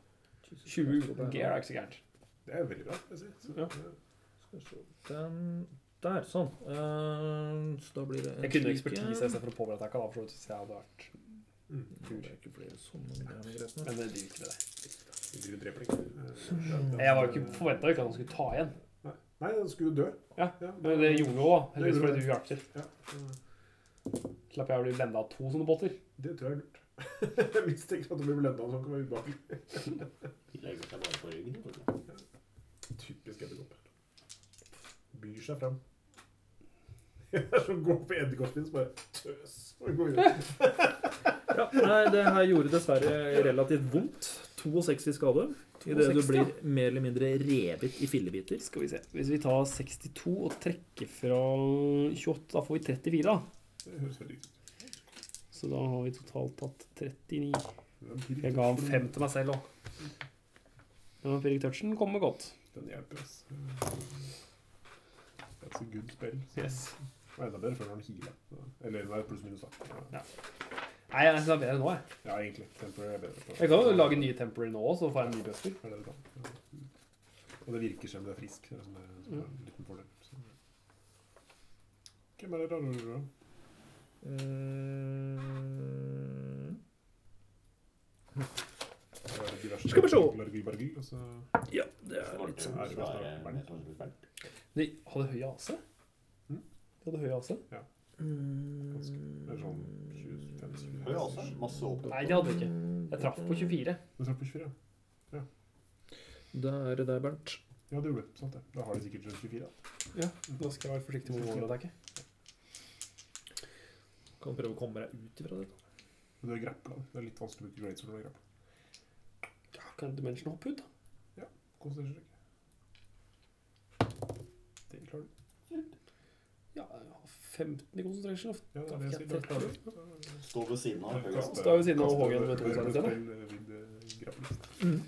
20 uten gear er ikke så gærent. Det er veldig bra. vil Jeg si. Så, Ja. ja. Skal vi se. Den der, sånn. Eh, så da blir det en Jeg kunne slik ekspertise en. istedenfor å påberedt deg, da, for så vidt, hvis jeg hadde vært Mm. Det er ikke flere sånne greier med gress nå. Men det driver ikke med det. Gru drepling. Eh, Jeg var jo ikke forventa ikke at han skulle ta igjen. Nei, han skulle jo dø. Ja, Men det gjorde jo òg, heldigvis fordi du hjalp til. Ja, eh, Slapp jeg å bli blenda av to sånne båter. Det tror jeg er lurt. jeg mistenker at det blir blenda som kan være ubehagelig. De legger seg bare på ryggen. vet du. Typisk edderkopp. Byr seg frem. Jeg er som går på edderkoppen som bare tøs og går videre. Ja, nei, det her gjorde dessverre relativt vondt. 62 skade. Idet du 62, blir mer eller mindre revet i fillebiter. Skal vi se. Hvis vi tar 62 og trekker fra 28, da får vi 34. da. Det høres veldig ut. Så da har vi totalt tatt 39. Den Jeg ga han 5 til meg selv òg. Ja, Fredrik Touchen kommer godt. Den hjelper, ass. That's a good spell. Yes. Det var enda bedre før han healer. Eller det er pluss minus, da. Ja. Nei, jeg er bedre nå, jeg. Ja, egentlig. Temper er bedre. på- Jeg kan jo lage nye temporary nå òg, så får jeg en ny bøffer. Er det det da? Ja. Og det virker selv om det er frisk. Det er som er, som er en liten fordel. Så. Hvem er det rarere? Eh, Mm. Skal vi se. Og så... Ja, det er sånn Det litt sånn. var svære medlemmer. De hadde høy AC. De Mm. hadde høy AC. Det er sånn 25-27. Høy altså. Masse åpen. Nei, de hadde ikke. Mm. Jeg traff på 24. Du traff sånn på 24, ja. Da er det deg, Bernt. Ja, det gjorde du. Sant det. Da har de sikkert rundt 24. Da. Nå skal jeg være forsiktig med overhodet. Kan prøve å komme deg ut ifra dette. Men du er grappla. Det er litt vanskelig å bruke grades når du er grappla. Kan Dimension hoppe ut, da? Konsentrere deg. Det klarer du. Ja, jeg har 15 i concentration. da. Da Ja, det er det jeg fikk sier. jeg Da klarer du. Står ved siden av. høy Kaste- altså. Så da er vi siden av kaste- Hågen med to kaste- seier, eh, grappla. Øh,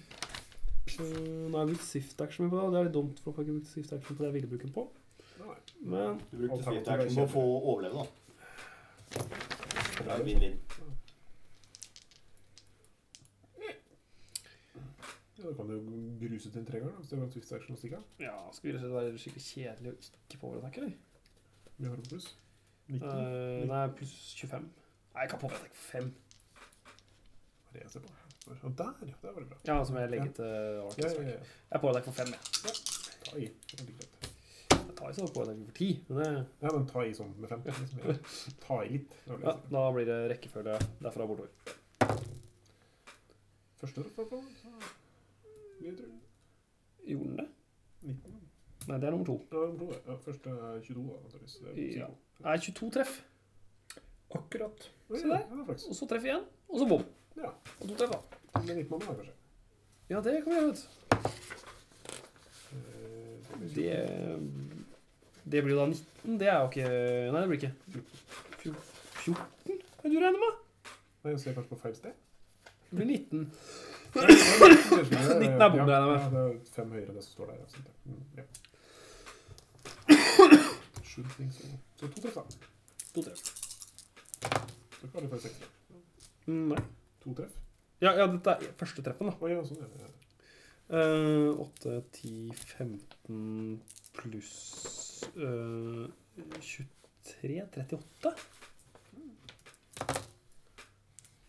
Nå har jeg brukt Sift Action på det. og Det er litt dumt, for jeg har ikke brukt Sift Action på det jeg ville bruke den på. Nei, Men Du brukte swift action på å få overleve, da. Det er Vinn-vinn. ja, Da kan du jo gruse til en trenger, da, hvis du har en twist action og stikke av. ja, skal vi rett og slett være skikkelig kjedelig og ikke påverattakke, eller? Vi har en pluss. 19. Øh, nei, pluss 25. Nei, jeg kan påverattakke 5. Hva er det jeg ser på? Ja, der, ja. Der var det bra. Ja, som jeg legger til Ja, Arctic. ja, Strike. ja. Jeg påverattakker for 5, jeg. Ta i. Det er litt greit. Jeg tar ikke så påverattakke for 10, men det Nei, men ta i sånn med fem. Liksom. Ja. Ta i litt. Det var det Ja, jeg sier. da blir det rekkefølge derfra bortover. Første da, for faen, så Mye tror jeg. Gjorde den det? 19. Nei, det er nummer to. Ja, det var to, det. ja, første er 22, da, antakeligvis. Det er Ja. sikkert. Nei, 22 treff. Akkurat. Oi, Se der. Ja, det er flaks. Og så treff igjen. Og så bom. Ja. Og to treff, da. Men 19 mann, da, kanskje. Ja, det kan vi gjøre, vet Eh, så du. blir Det Det blir jo da 19. Det er jo ikke Nei, det blir ikke. Fjo- 14? Hva er det du regner med? Nei, jeg ser kanskje på feil sted. Det blir 19. 19 er bom, regner jeg med. sånn, Ja, det er fem høyere enn det som står der. ja, sant det. Mm, ja. Should think so. Så to treff, da. To treff. Så klarer du for seks. da. Mm, Nei. To treff. Ja, ja, dette er første treffen, da. Å ja, sånn er det. Eh, 8, 10, 15 pluss eh, 23 38.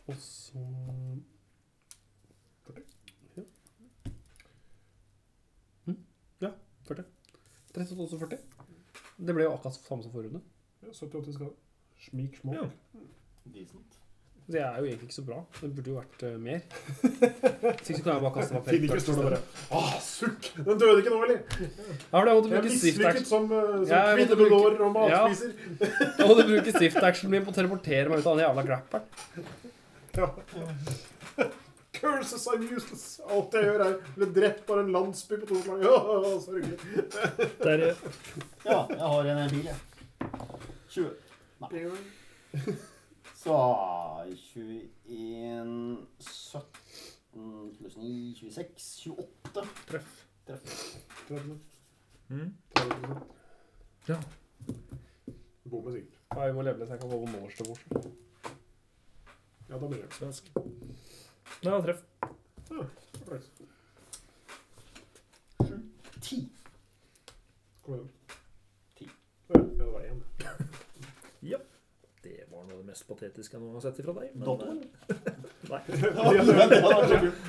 Og så Ja. Mm. Ja, 40. 38 også 40. Det ble jo akkurat samme som forrige runde. Ja, 78 skade. Smik, små. Ja. Decent. Så jeg er jo egentlig ikke så bra. Det burde jo vært eh, mer. Hvis ikke så kan jeg bare kaste meg på Til ikke touch står det bare isteden. Ah, sukk! Den døde ikke nå, eller? Ja, for jeg måtte Jeg bruke er swift mislykket action. som, eh, som Ja, jeg måtte kvinne med bruke- lår og Ja. matspiser. Jeg måtte bruke swift action min på å teleportere meg ut av den jævla grapperen. Curses I'm useless. Alt jeg gjør, er å bli drept på en landsby på Torsdag. Ja, sørgelig. Der, Ja, jeg har en bil, jeg. 20. Så 21 17 pluss 9 26 28. Tredje. mm. Tredje. Ja. Bommer sikkert. Ja, vi må levele så jeg kan gå over målers til bords. Ja, da blir det. Svensk. Ja, treff. Flaks. 10. Kom igjen. Ti. Ja, det var én. Det var noe av det mest patetiske jeg noen gang har sett fra deg. men- eh, Dottoen? Nei. Det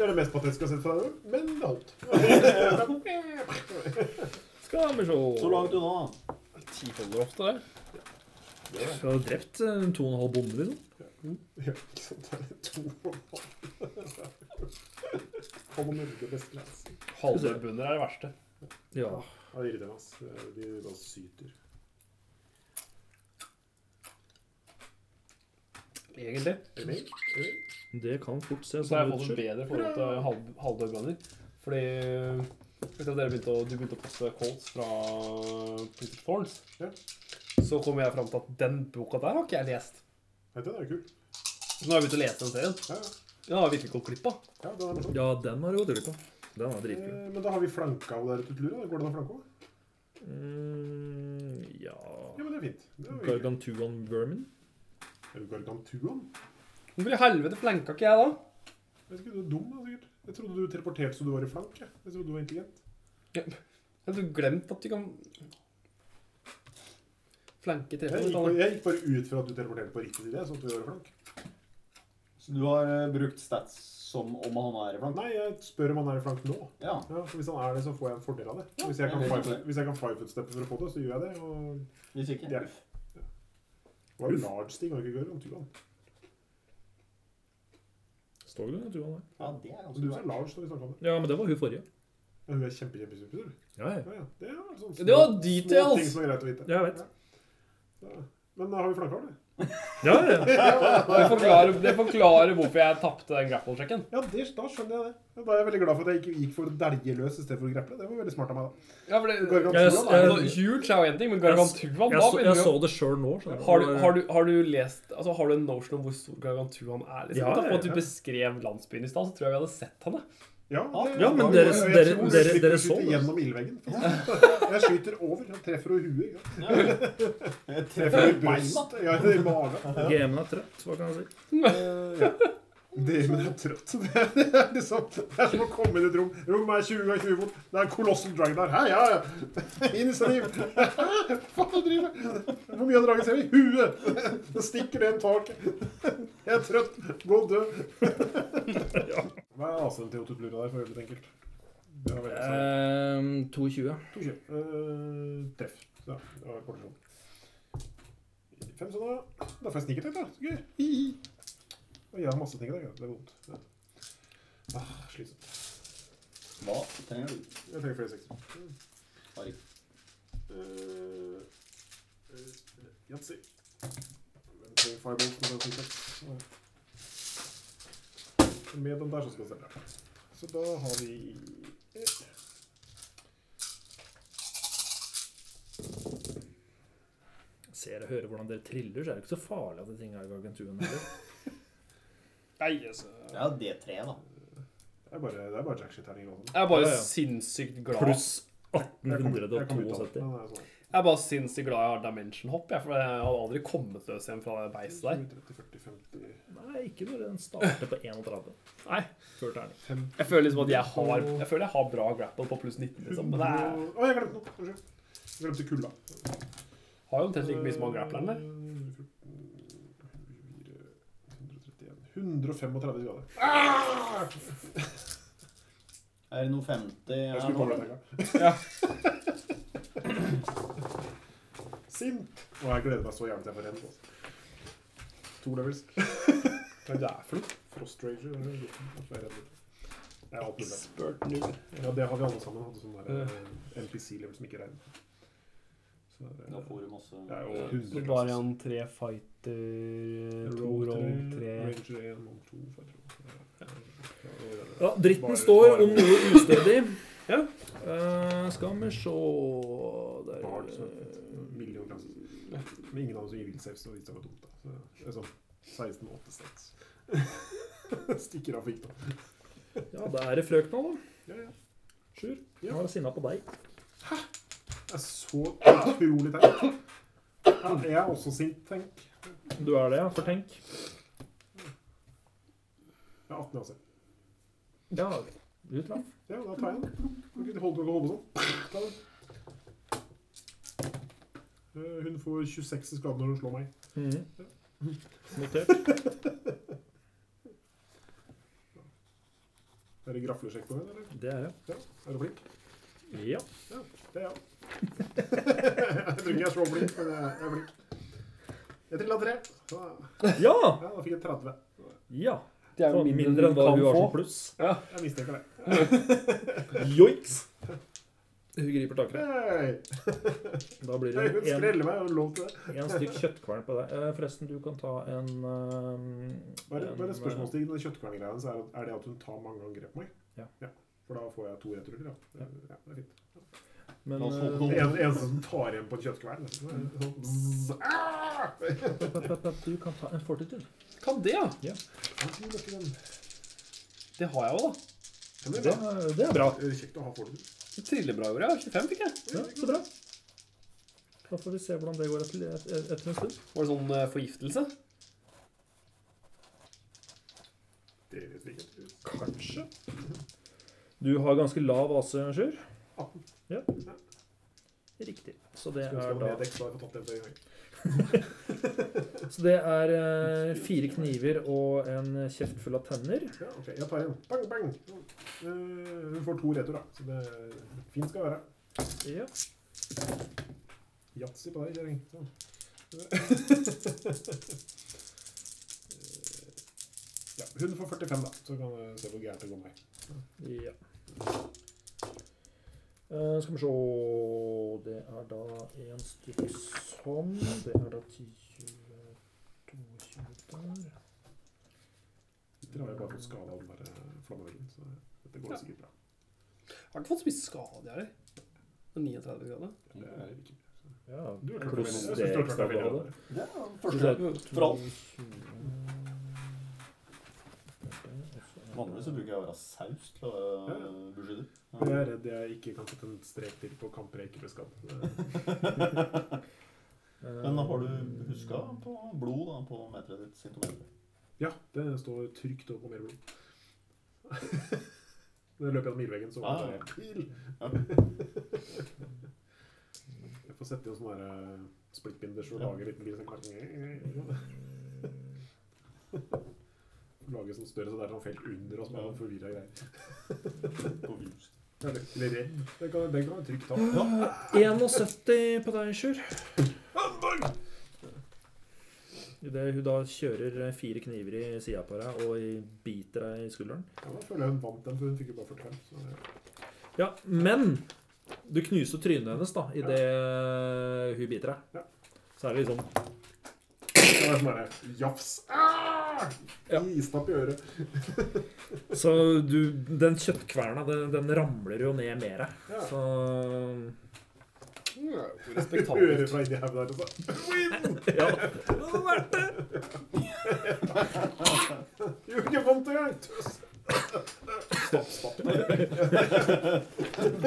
er det mest patetiske jeg har sett fra deg, men det holdt. Skal vi se Så langt unna. Ti holder ofte, det. Det er det. Du har drept eh, to og en halv bonde, liksom. Ja, ikke sant. Det er to og en halv. Han må melde best class. Halvbønder er det verste. Ja. Ja, det irriterer meg, ass. De bare syter. Egentlig. Er det meg? Er det meg? Det kan fort se Og så har jeg ut, fått et sjøl. bedre forhold til halv- halvdødbønder. Fordi etter at dere begynte å, du begynte å poste Colts fra Printed Thorns, Ja. så kom jeg fram til at den boka der har ikke jeg lest. Nei, den er jo kul. Så nå har jeg begynt å lese den serien. Ja, ja. Den har jeg virkelig gått glipp av. ja, den er morsom. Ja, den har du gått glipp av. Den er Eh, dritkul. Men da har vi flanka av der til Lura. Går det an å flanke av? Mm, ja Ja, men det er fint. Det er jo hyggelig. Gargantuan vermin. Er du Gargantuan? Hvorfor i helvete flenka ikke jeg da? Jeg vet ikke, du er dum, da, sikkert. Jeg trodde du teleporterte så du var i flank. Jeg, jeg trodde du var intelligent. Jeg hadde glemt at du kan flenke Jeg treffende. gikk, uttaler. jeg gikk bare ut fra at du teleporterte på riktig side, sånn at du var i flank. Så du har eh, brukt stats som om han er i blant? Nei, jeg spør om han er i flank nå. Ja. Ja, så Hvis han er det, så får jeg en fordel av det. Ja, Hvis jeg kan jeg vet five- det. hvis jeg kan fivefoot-steppe for å få det, så gjør jeg det. Og Hvis ikke. det er det var jo large sting, var det ikke Gargantuan? Står det Gargantuan der? Ja, det er Så Altså, du ganske sa bra. large da vi snakket om det. Ja, men det var hun forrige. Ja, hun er kjempe, kjempe, kjempe, Ja, ja. Ja, ja. Det er sånn Det var små ting details! som er greit å vite. Ja, jeg vet. Ja. Men da har vi flanka av det. ja, ja. Det forklarer, det forklarer hvorfor jeg tapte den grapple-sjekken. Ja, det, da skjønner jeg det. Ja, Da er jeg veldig glad for at jeg ikke gikk for å delge løs i stedet for å greple. Det var veldig smart av meg, da. Ja, for det, Gargantua, Jeg- da. jeg- altså, huge er jo en ting, men gargantuaen Jeg da så, begynner jeg vi å- så det sjøl nå. skjønner Har du, har, du, har du lest Altså, har du en notion om hvor stor gargantuaen er? Liksom? Ja, Ja, ja, At du ja. beskrev landsbyen i stad, så tror jeg vi hadde sett henne. Ja, det- Ja, men da- dere- jeg dere- tror dere- jeg dere skyter så det. Gjennom ildveggen. for eksempel. Jeg skyter over. Jeg treffer over huet. Ja. Jeg Treffer treffer i beina. brystet. Ja, i magen. GM-en er trøtt, hva kan jeg si? Eh, ja. Det men jeg er trøtt. Det er, det er liksom, det er som å komme inn i et rom. Rommet er 20 ganger 20 fot. Det er en colossal dragon der. Hei, ja, ja. Initiativ. Hva faen driver jeg med? Hvor mye av dragen ser vi? Huet. Det stikker ned i taket. Jeg er trøtt. Gå og dø. Hva er ACN til Otoplura der, for å gjøre det litt enkelt? Det var veldig Eh, sant. 22. To kjøp. Eh, treff. Ja, det var kort og sånn. Fem sånne. Da får jeg sniket litt, da. Så gøy. Hihi. Og jeg har masse ting i dag. ja. Det er vondt. Ja. Ah, slitsomt. Hva trenger du? Jeg trenger flere sekser. Harry. Uh, eh, Jatsi. Hvem trenger fireball for å ta sniket? Med den der så skal det stemme. Så da har vi Ser og hører hvordan dere triller, så er det ikke så farlig at det ting er gargantuan heller. Nei, altså. Det er jo det treet, da. Det er bare, det er bare jackshit-terninger. og Jeg sånn. er bare Ja, ja. sinnssykt glad Pluss Jeg kommer- jeg kommer ut av det, 1872. men det er sånn. Jeg er bare sinnssykt glad jeg har Dimension Hop, jeg, for jeg hadde aldri kommet løs igjen fra det beistet der. 20, 30, 40, 50 Nei, ikke når den starter på 31. Nei. Før terning. Jeg føler liksom at jeg har Jeg føler jeg har bra grapple på pluss 19, liksom. Men jeg Å, jeg glemte noe. Unnskyld. Jeg glemte kulda. har jo omtrent like mye som han grappleren der. 135 grader. Er det noe 50 Jeg skulle her komme nå? det Sint. Og jeg gleder meg så jævlig til jeg får rent. altså. To levels. Nei, Det er flott. Frost Ranger. eller noe sånt. Ikke vær redd. Jeg har opplevd det. Spurt null. Ja, det har vi alle sammen. Hadde sånn der eh, NPC-level som ikke regner. Så eh, det Da er, får du masse det er jo Så 100 bare han tre eh, fighter, to rogue, tre Ranger 1 og 2, for jeg tror. Ja. Ja, dritten Bare- står bare- om noe ustødig. Ja. Eh, skal vi se Der eh, Bard, så millionklasse. Men ingen av oss gir villsaus, og hvis det var dumt, da. Så, det er sånn 16-8 stats. Stikker av fikk, da. Ja, da er det frøkna, da. Ja, ja. Sjur. Ja. Han er sinna på deg. Det er så utrolig teit. Ja, jeg er også sint, tenk. Du er det, ja. For tenk. Jeg er 18 år selv. Ja, du traff. Ja, da tar jeg den. Kan ikke holde på å holde sånn. Ta den. Eh, Hun får 26 i skade når hun slår meg. Mhm. Notert. Er det graflesjekk på henne, eller? Det er det. Ja. Er du flink? Ja. Det er jeg. jeg tror ikke jeg er så flink, men jeg jeg er flink. Jeg trilla tre. Så, Ja! ja, da fikk jeg 30. ja. Det er Så jo mindre enn hva hun har som pluss. Jeg mistenker det. Joiks! Hun griper tak i deg. Hei! Da blir det Hun en, skreller meg, jeg har lov til det. en stykk kjøttkvern på deg. Eh, Forresten, du kan ta en eh, Bare, en, bare eh, spørsmålsstigen med kjøttkverngreiene, så er det- er det at hun tar mange angrep på meg? Ja. For da får jeg to returer, ja. ja. Det er fint. Men La oss holde eh, Det en- eneste som tar igjen på en kjøttkvern. det er sånn zzz, ah! du kan ta en fortitude. Kan det, ja. Ja, fy, dette er den. Det har jeg jo, da. Ja, men Det, bra. er- det er bra. Det er Kjekt å ha folk. Det triller bra i år, ja. 25 fikk jeg. Ja, så bra. Da får vi se hvordan det går etter, et- et- etter en stund. Var det sånn eh, forgiftelse? Det vet vi ikke. Kanskje. Du har ganske lav AC, Sjur. 18. Ja. Riktig. Så det Skulle ønske jeg er var da med dekk, så hadde jeg fått tatt det på en gang. Så det er eh, fire kniver og en kjeft full av tenner. Ja, ok, jeg tar en. Bang, bang! Eh, Hun får to returer, så det fint skal være. Ja. Yatzy på deg, kjøring. Sånn. Ja, hun får 45, da. Så kan vi se hvor gærent det går med meg. ja. Eh, skal vi se Det er da én stykk sånn. Det er da 10 22 der. Dere har jo bare fått skade av den der eh, flammeveggen, så dette går Ja. sikkert bra. Jeg har ikke fått så mye skade, jeg heller. Det er 39 grader. Det er ikke Ja, Du har klart Pluss deg veldig- jeg det synes du har klart ekstra deg veldig bladet. bra der. Det er den Så det første. er For alt. 22. Vanligvis så bruker jeg bare saus til å øh, beskytte. Men jeg er redd jeg ikke kan sette en strek til på kamper jeg ikke ble skadd. Det- Men har du huska på blod da, på meteret ditt? Sintometeret. Ja, det står trygt over på mer blod. Når jeg løper gjennom ildveggen, så Ah. var det pil. Ja. Jeg får sette i en sånn der, eh, splittbinders og Ja. lage en liten bil som eh, Lage sånn større, så det er sånn felt under oss med noen forvirra greier. På virus. Eller eller redd. Den kan, den kan jeg trygt ta. Ja. 71 på deg, Sjur. Idet hun da kjører fire kniver i sida på deg og i- biter deg i skulderen. Ja, da føler jeg hun vant den, for hun fikk jo bare 45. Så det- Ja, men du knuser trynet hennes da idet hun biter Ja. deg. Så er det liksom det var sånn derre jafs. Ah! Ja. Istapp i øret. Så du, den kjøttkverna, den, den ramler jo ned med deg. Ja. Så Respektabelt. Øret fra inni hodet der. altså. Ja. Det var verdt det. Det gjorde ikke vondt engang! Tøs. Stopp, stopp.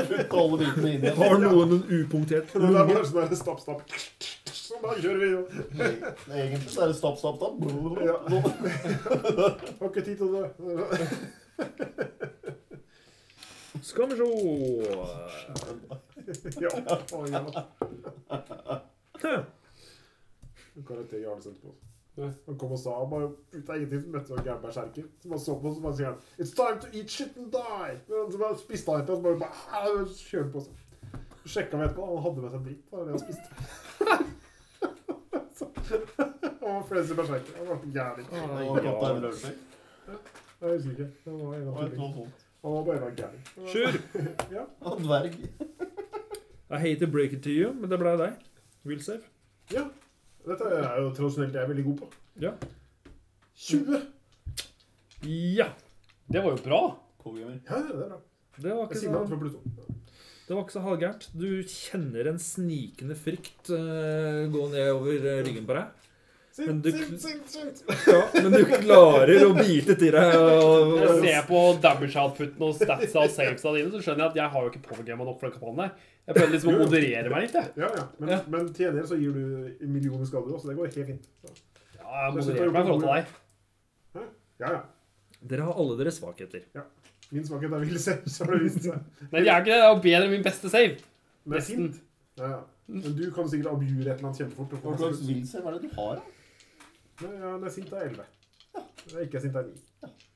Putt alle bitene inn igjen. Har noen en upunktert Det der var sånn der stapp, stapp. Sånn, da kjører vi. jo. Egentlig så er det stapp, stapp, stapp. Ja. Blod. Har ikke tid til det. Skal vi se Ja. Å, ja. Hæ. En karakter Jarle sendte på oss. Han kom og sa bare ut av ingenting så møtte han en gæren berserker. Som bare så på oss og bare sier han, It's time to eat shit and die! Men han bare spiste han etter oss bare, bare ah, kjørte på seg. Sjekka vi etterpå, han hadde med seg dritt. Bare det han spiste. Så- Han var var flere som berserker. Han var gæren. Det var kaptein Løvsberg. Jeg husker ikke. Det var en Det av var et tingene. noe sånt. Han var bare gæren. Sjur. Og dverg. I hate to break it to you, men det ble deg. Will save. Ja. Dette er jo tradisjonelt jeg er veldig god på. Ja. 20! Ja. Det var jo bra. Kogamer. Ja, ja, det er bra. Det var Jeg ikke sier meg så fra pluss to. Det var ikke så halvgærent. Du kjenner en snikende frykt eh, gå ned over eh, ryggen på deg. Men Sint, du- sint, sint, sint! Men du klarer å bite til deg. Og, Når jeg ser på damage outputen og statsa og savesa dine, så skjønner jeg at jeg har jo ikke powergama nok for den kampanjen der. Jeg prøvde liksom å moderere meg litt, jeg. Ja, ja. Men, Ja. men til gjengjeld så gir du en million skader også. Det går helt fint. Så, Ja, jeg modererer meg i forhold til deg. Ja, ja. Dere har alle deres svakheter. Min svakhet er vill selv, så har det vist seg. Men jeg er ikke det. Det er jo bedre enn min beste save. Men jeg er Nesten. sint. Ja, ja. Men du kan sikkert abjure et eller annet kjempefort. og Hva få masse slags pluss. villsev er det du har, da? Men ja, når jeg er sint, er jeg 11. Når jeg ikke er sint, er jeg 9.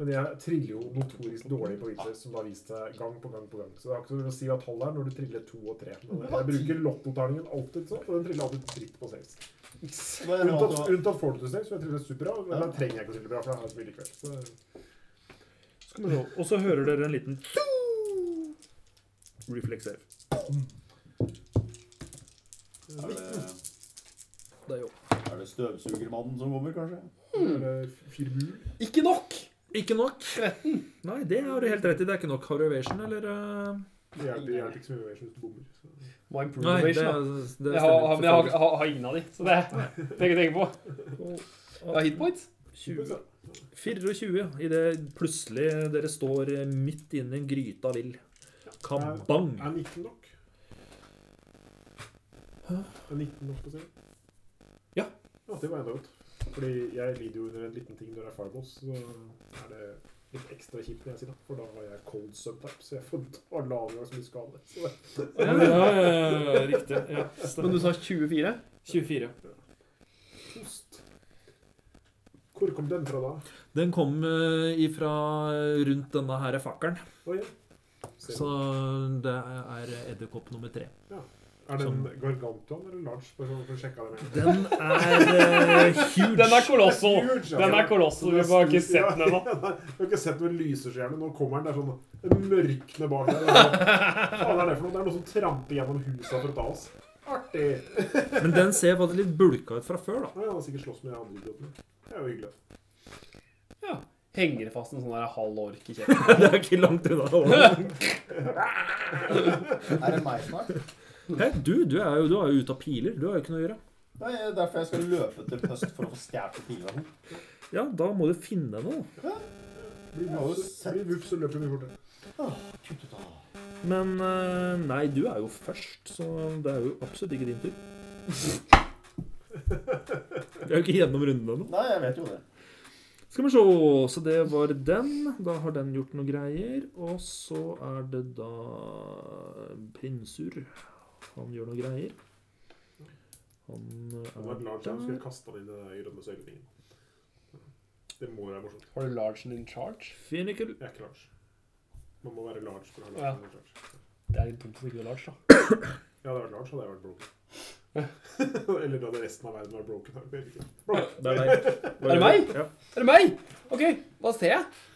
Men jeg triller jo notorisk dårlig på Witcher, som det har vist seg gang på gang på gang. Så det har ikke så mye å si hva tallet er når du triller 2 og 3. Men jeg bruker lottotallingen alltid sånn, og den triller alltid fritt på 6. Det er rart Unntatt, å ha- unntatt Fortnite 6, for jeg triller superbra. Men den trenger jeg ikke å trille bra, for jeg har spilt i kveld. Så Så kommer det opp, Og så hører dere en liten Reflex save. eh, Er det, Det er jo er det støvsugermannen som kommer, kanskje? det er fire bul. Ikke nok. ikke nok. 13. Nei, det har du helt rett i. Det er ikke nok. Har du evasion, eller? eh? Det hjelper det hjelper ikke så mye hvis du bommer. Så. Må improve Nei, det, det innovation, da. stemmer. Jeg har, men jeg har, selvfølgelig. har, har ingen av de, så det trenger jeg ikke tenke på. Jeg har hitpoints. 20. 24, idet plutselig dere står eh, midt inni en gryte av vill. Kabang! Er 19 nok? Er 19 nok på siden? Ja. Ja, det var enda godt. Fordi jeg lider jo under en liten ting når jeg er fireballs, så er det litt ekstra kjipt når jeg sier det. For da har jeg cold subtype, så jeg får da lager jeg så mye skade. Så det Ja, ja, ja, ja, riktig. Ja, Men stemmer. du sa 24? 24. post. Hvor kom den fra da? Den kom eh, ifra eh, rundt denne her fakkelen, Å, ja. Ser så det er edderkopp nummer tre. du. er den som- gargantuan eller large? Bare sånn for å sjekke den. Den er eh, huge. Den er kolossal. Huge, altså. ja. Den er kolossal. Vi har bare ikke sett den ennå. Du har ikke sett noen lyser så jævlig. Nå kommer den der sånn den mørkne bak der. Hva faen er det for noe? Det er noe som tramper gjennom huset for å ta oss. Artig! Men den ser faktisk litt bulka ut fra før, da. Nå har han sikkert slåss med de andre idiotene. Det er jo hyggelig. Henger det fast en sånn der halv ork i kjeften? Det er ikke langt unna. Er det meg snart? Hei, du, du er jo, du er jo ute av piler. Du har jo ikke noe å gjøre. Det er derfor jeg skal løpe til pøst for å få stjålet pilene. Ja, da må du finne noe. Blir vups, blir vups og løper mye fortere. Kutt ut av Men eh, nei, du er jo først, så det er jo absolutt ikke din tur. Vi er jo ikke gjennom runden ennå. Nei, jeg vet jo det. Skal vi se. Så det var den. Da har den gjort noe greier. Og så er det da prinsur. Han gjør noe greier. Han Det var er et large som skulle kaste han inn i den der grønne søylingen. Det må være morsomt. Har du largen in charge? Finical. Jeg er ikke large. Man må være large for å ha Ja. large. Ja. Det er litt dumt at du ikke er large, da. Ja, hadde jeg vært large, hadde jeg vært broken. Eller da hadde resten av verden vært broken. Jeg vet ikke. Broken. Det er deg. Er det meg? Ja. Er det meg? OK, hva ser jeg?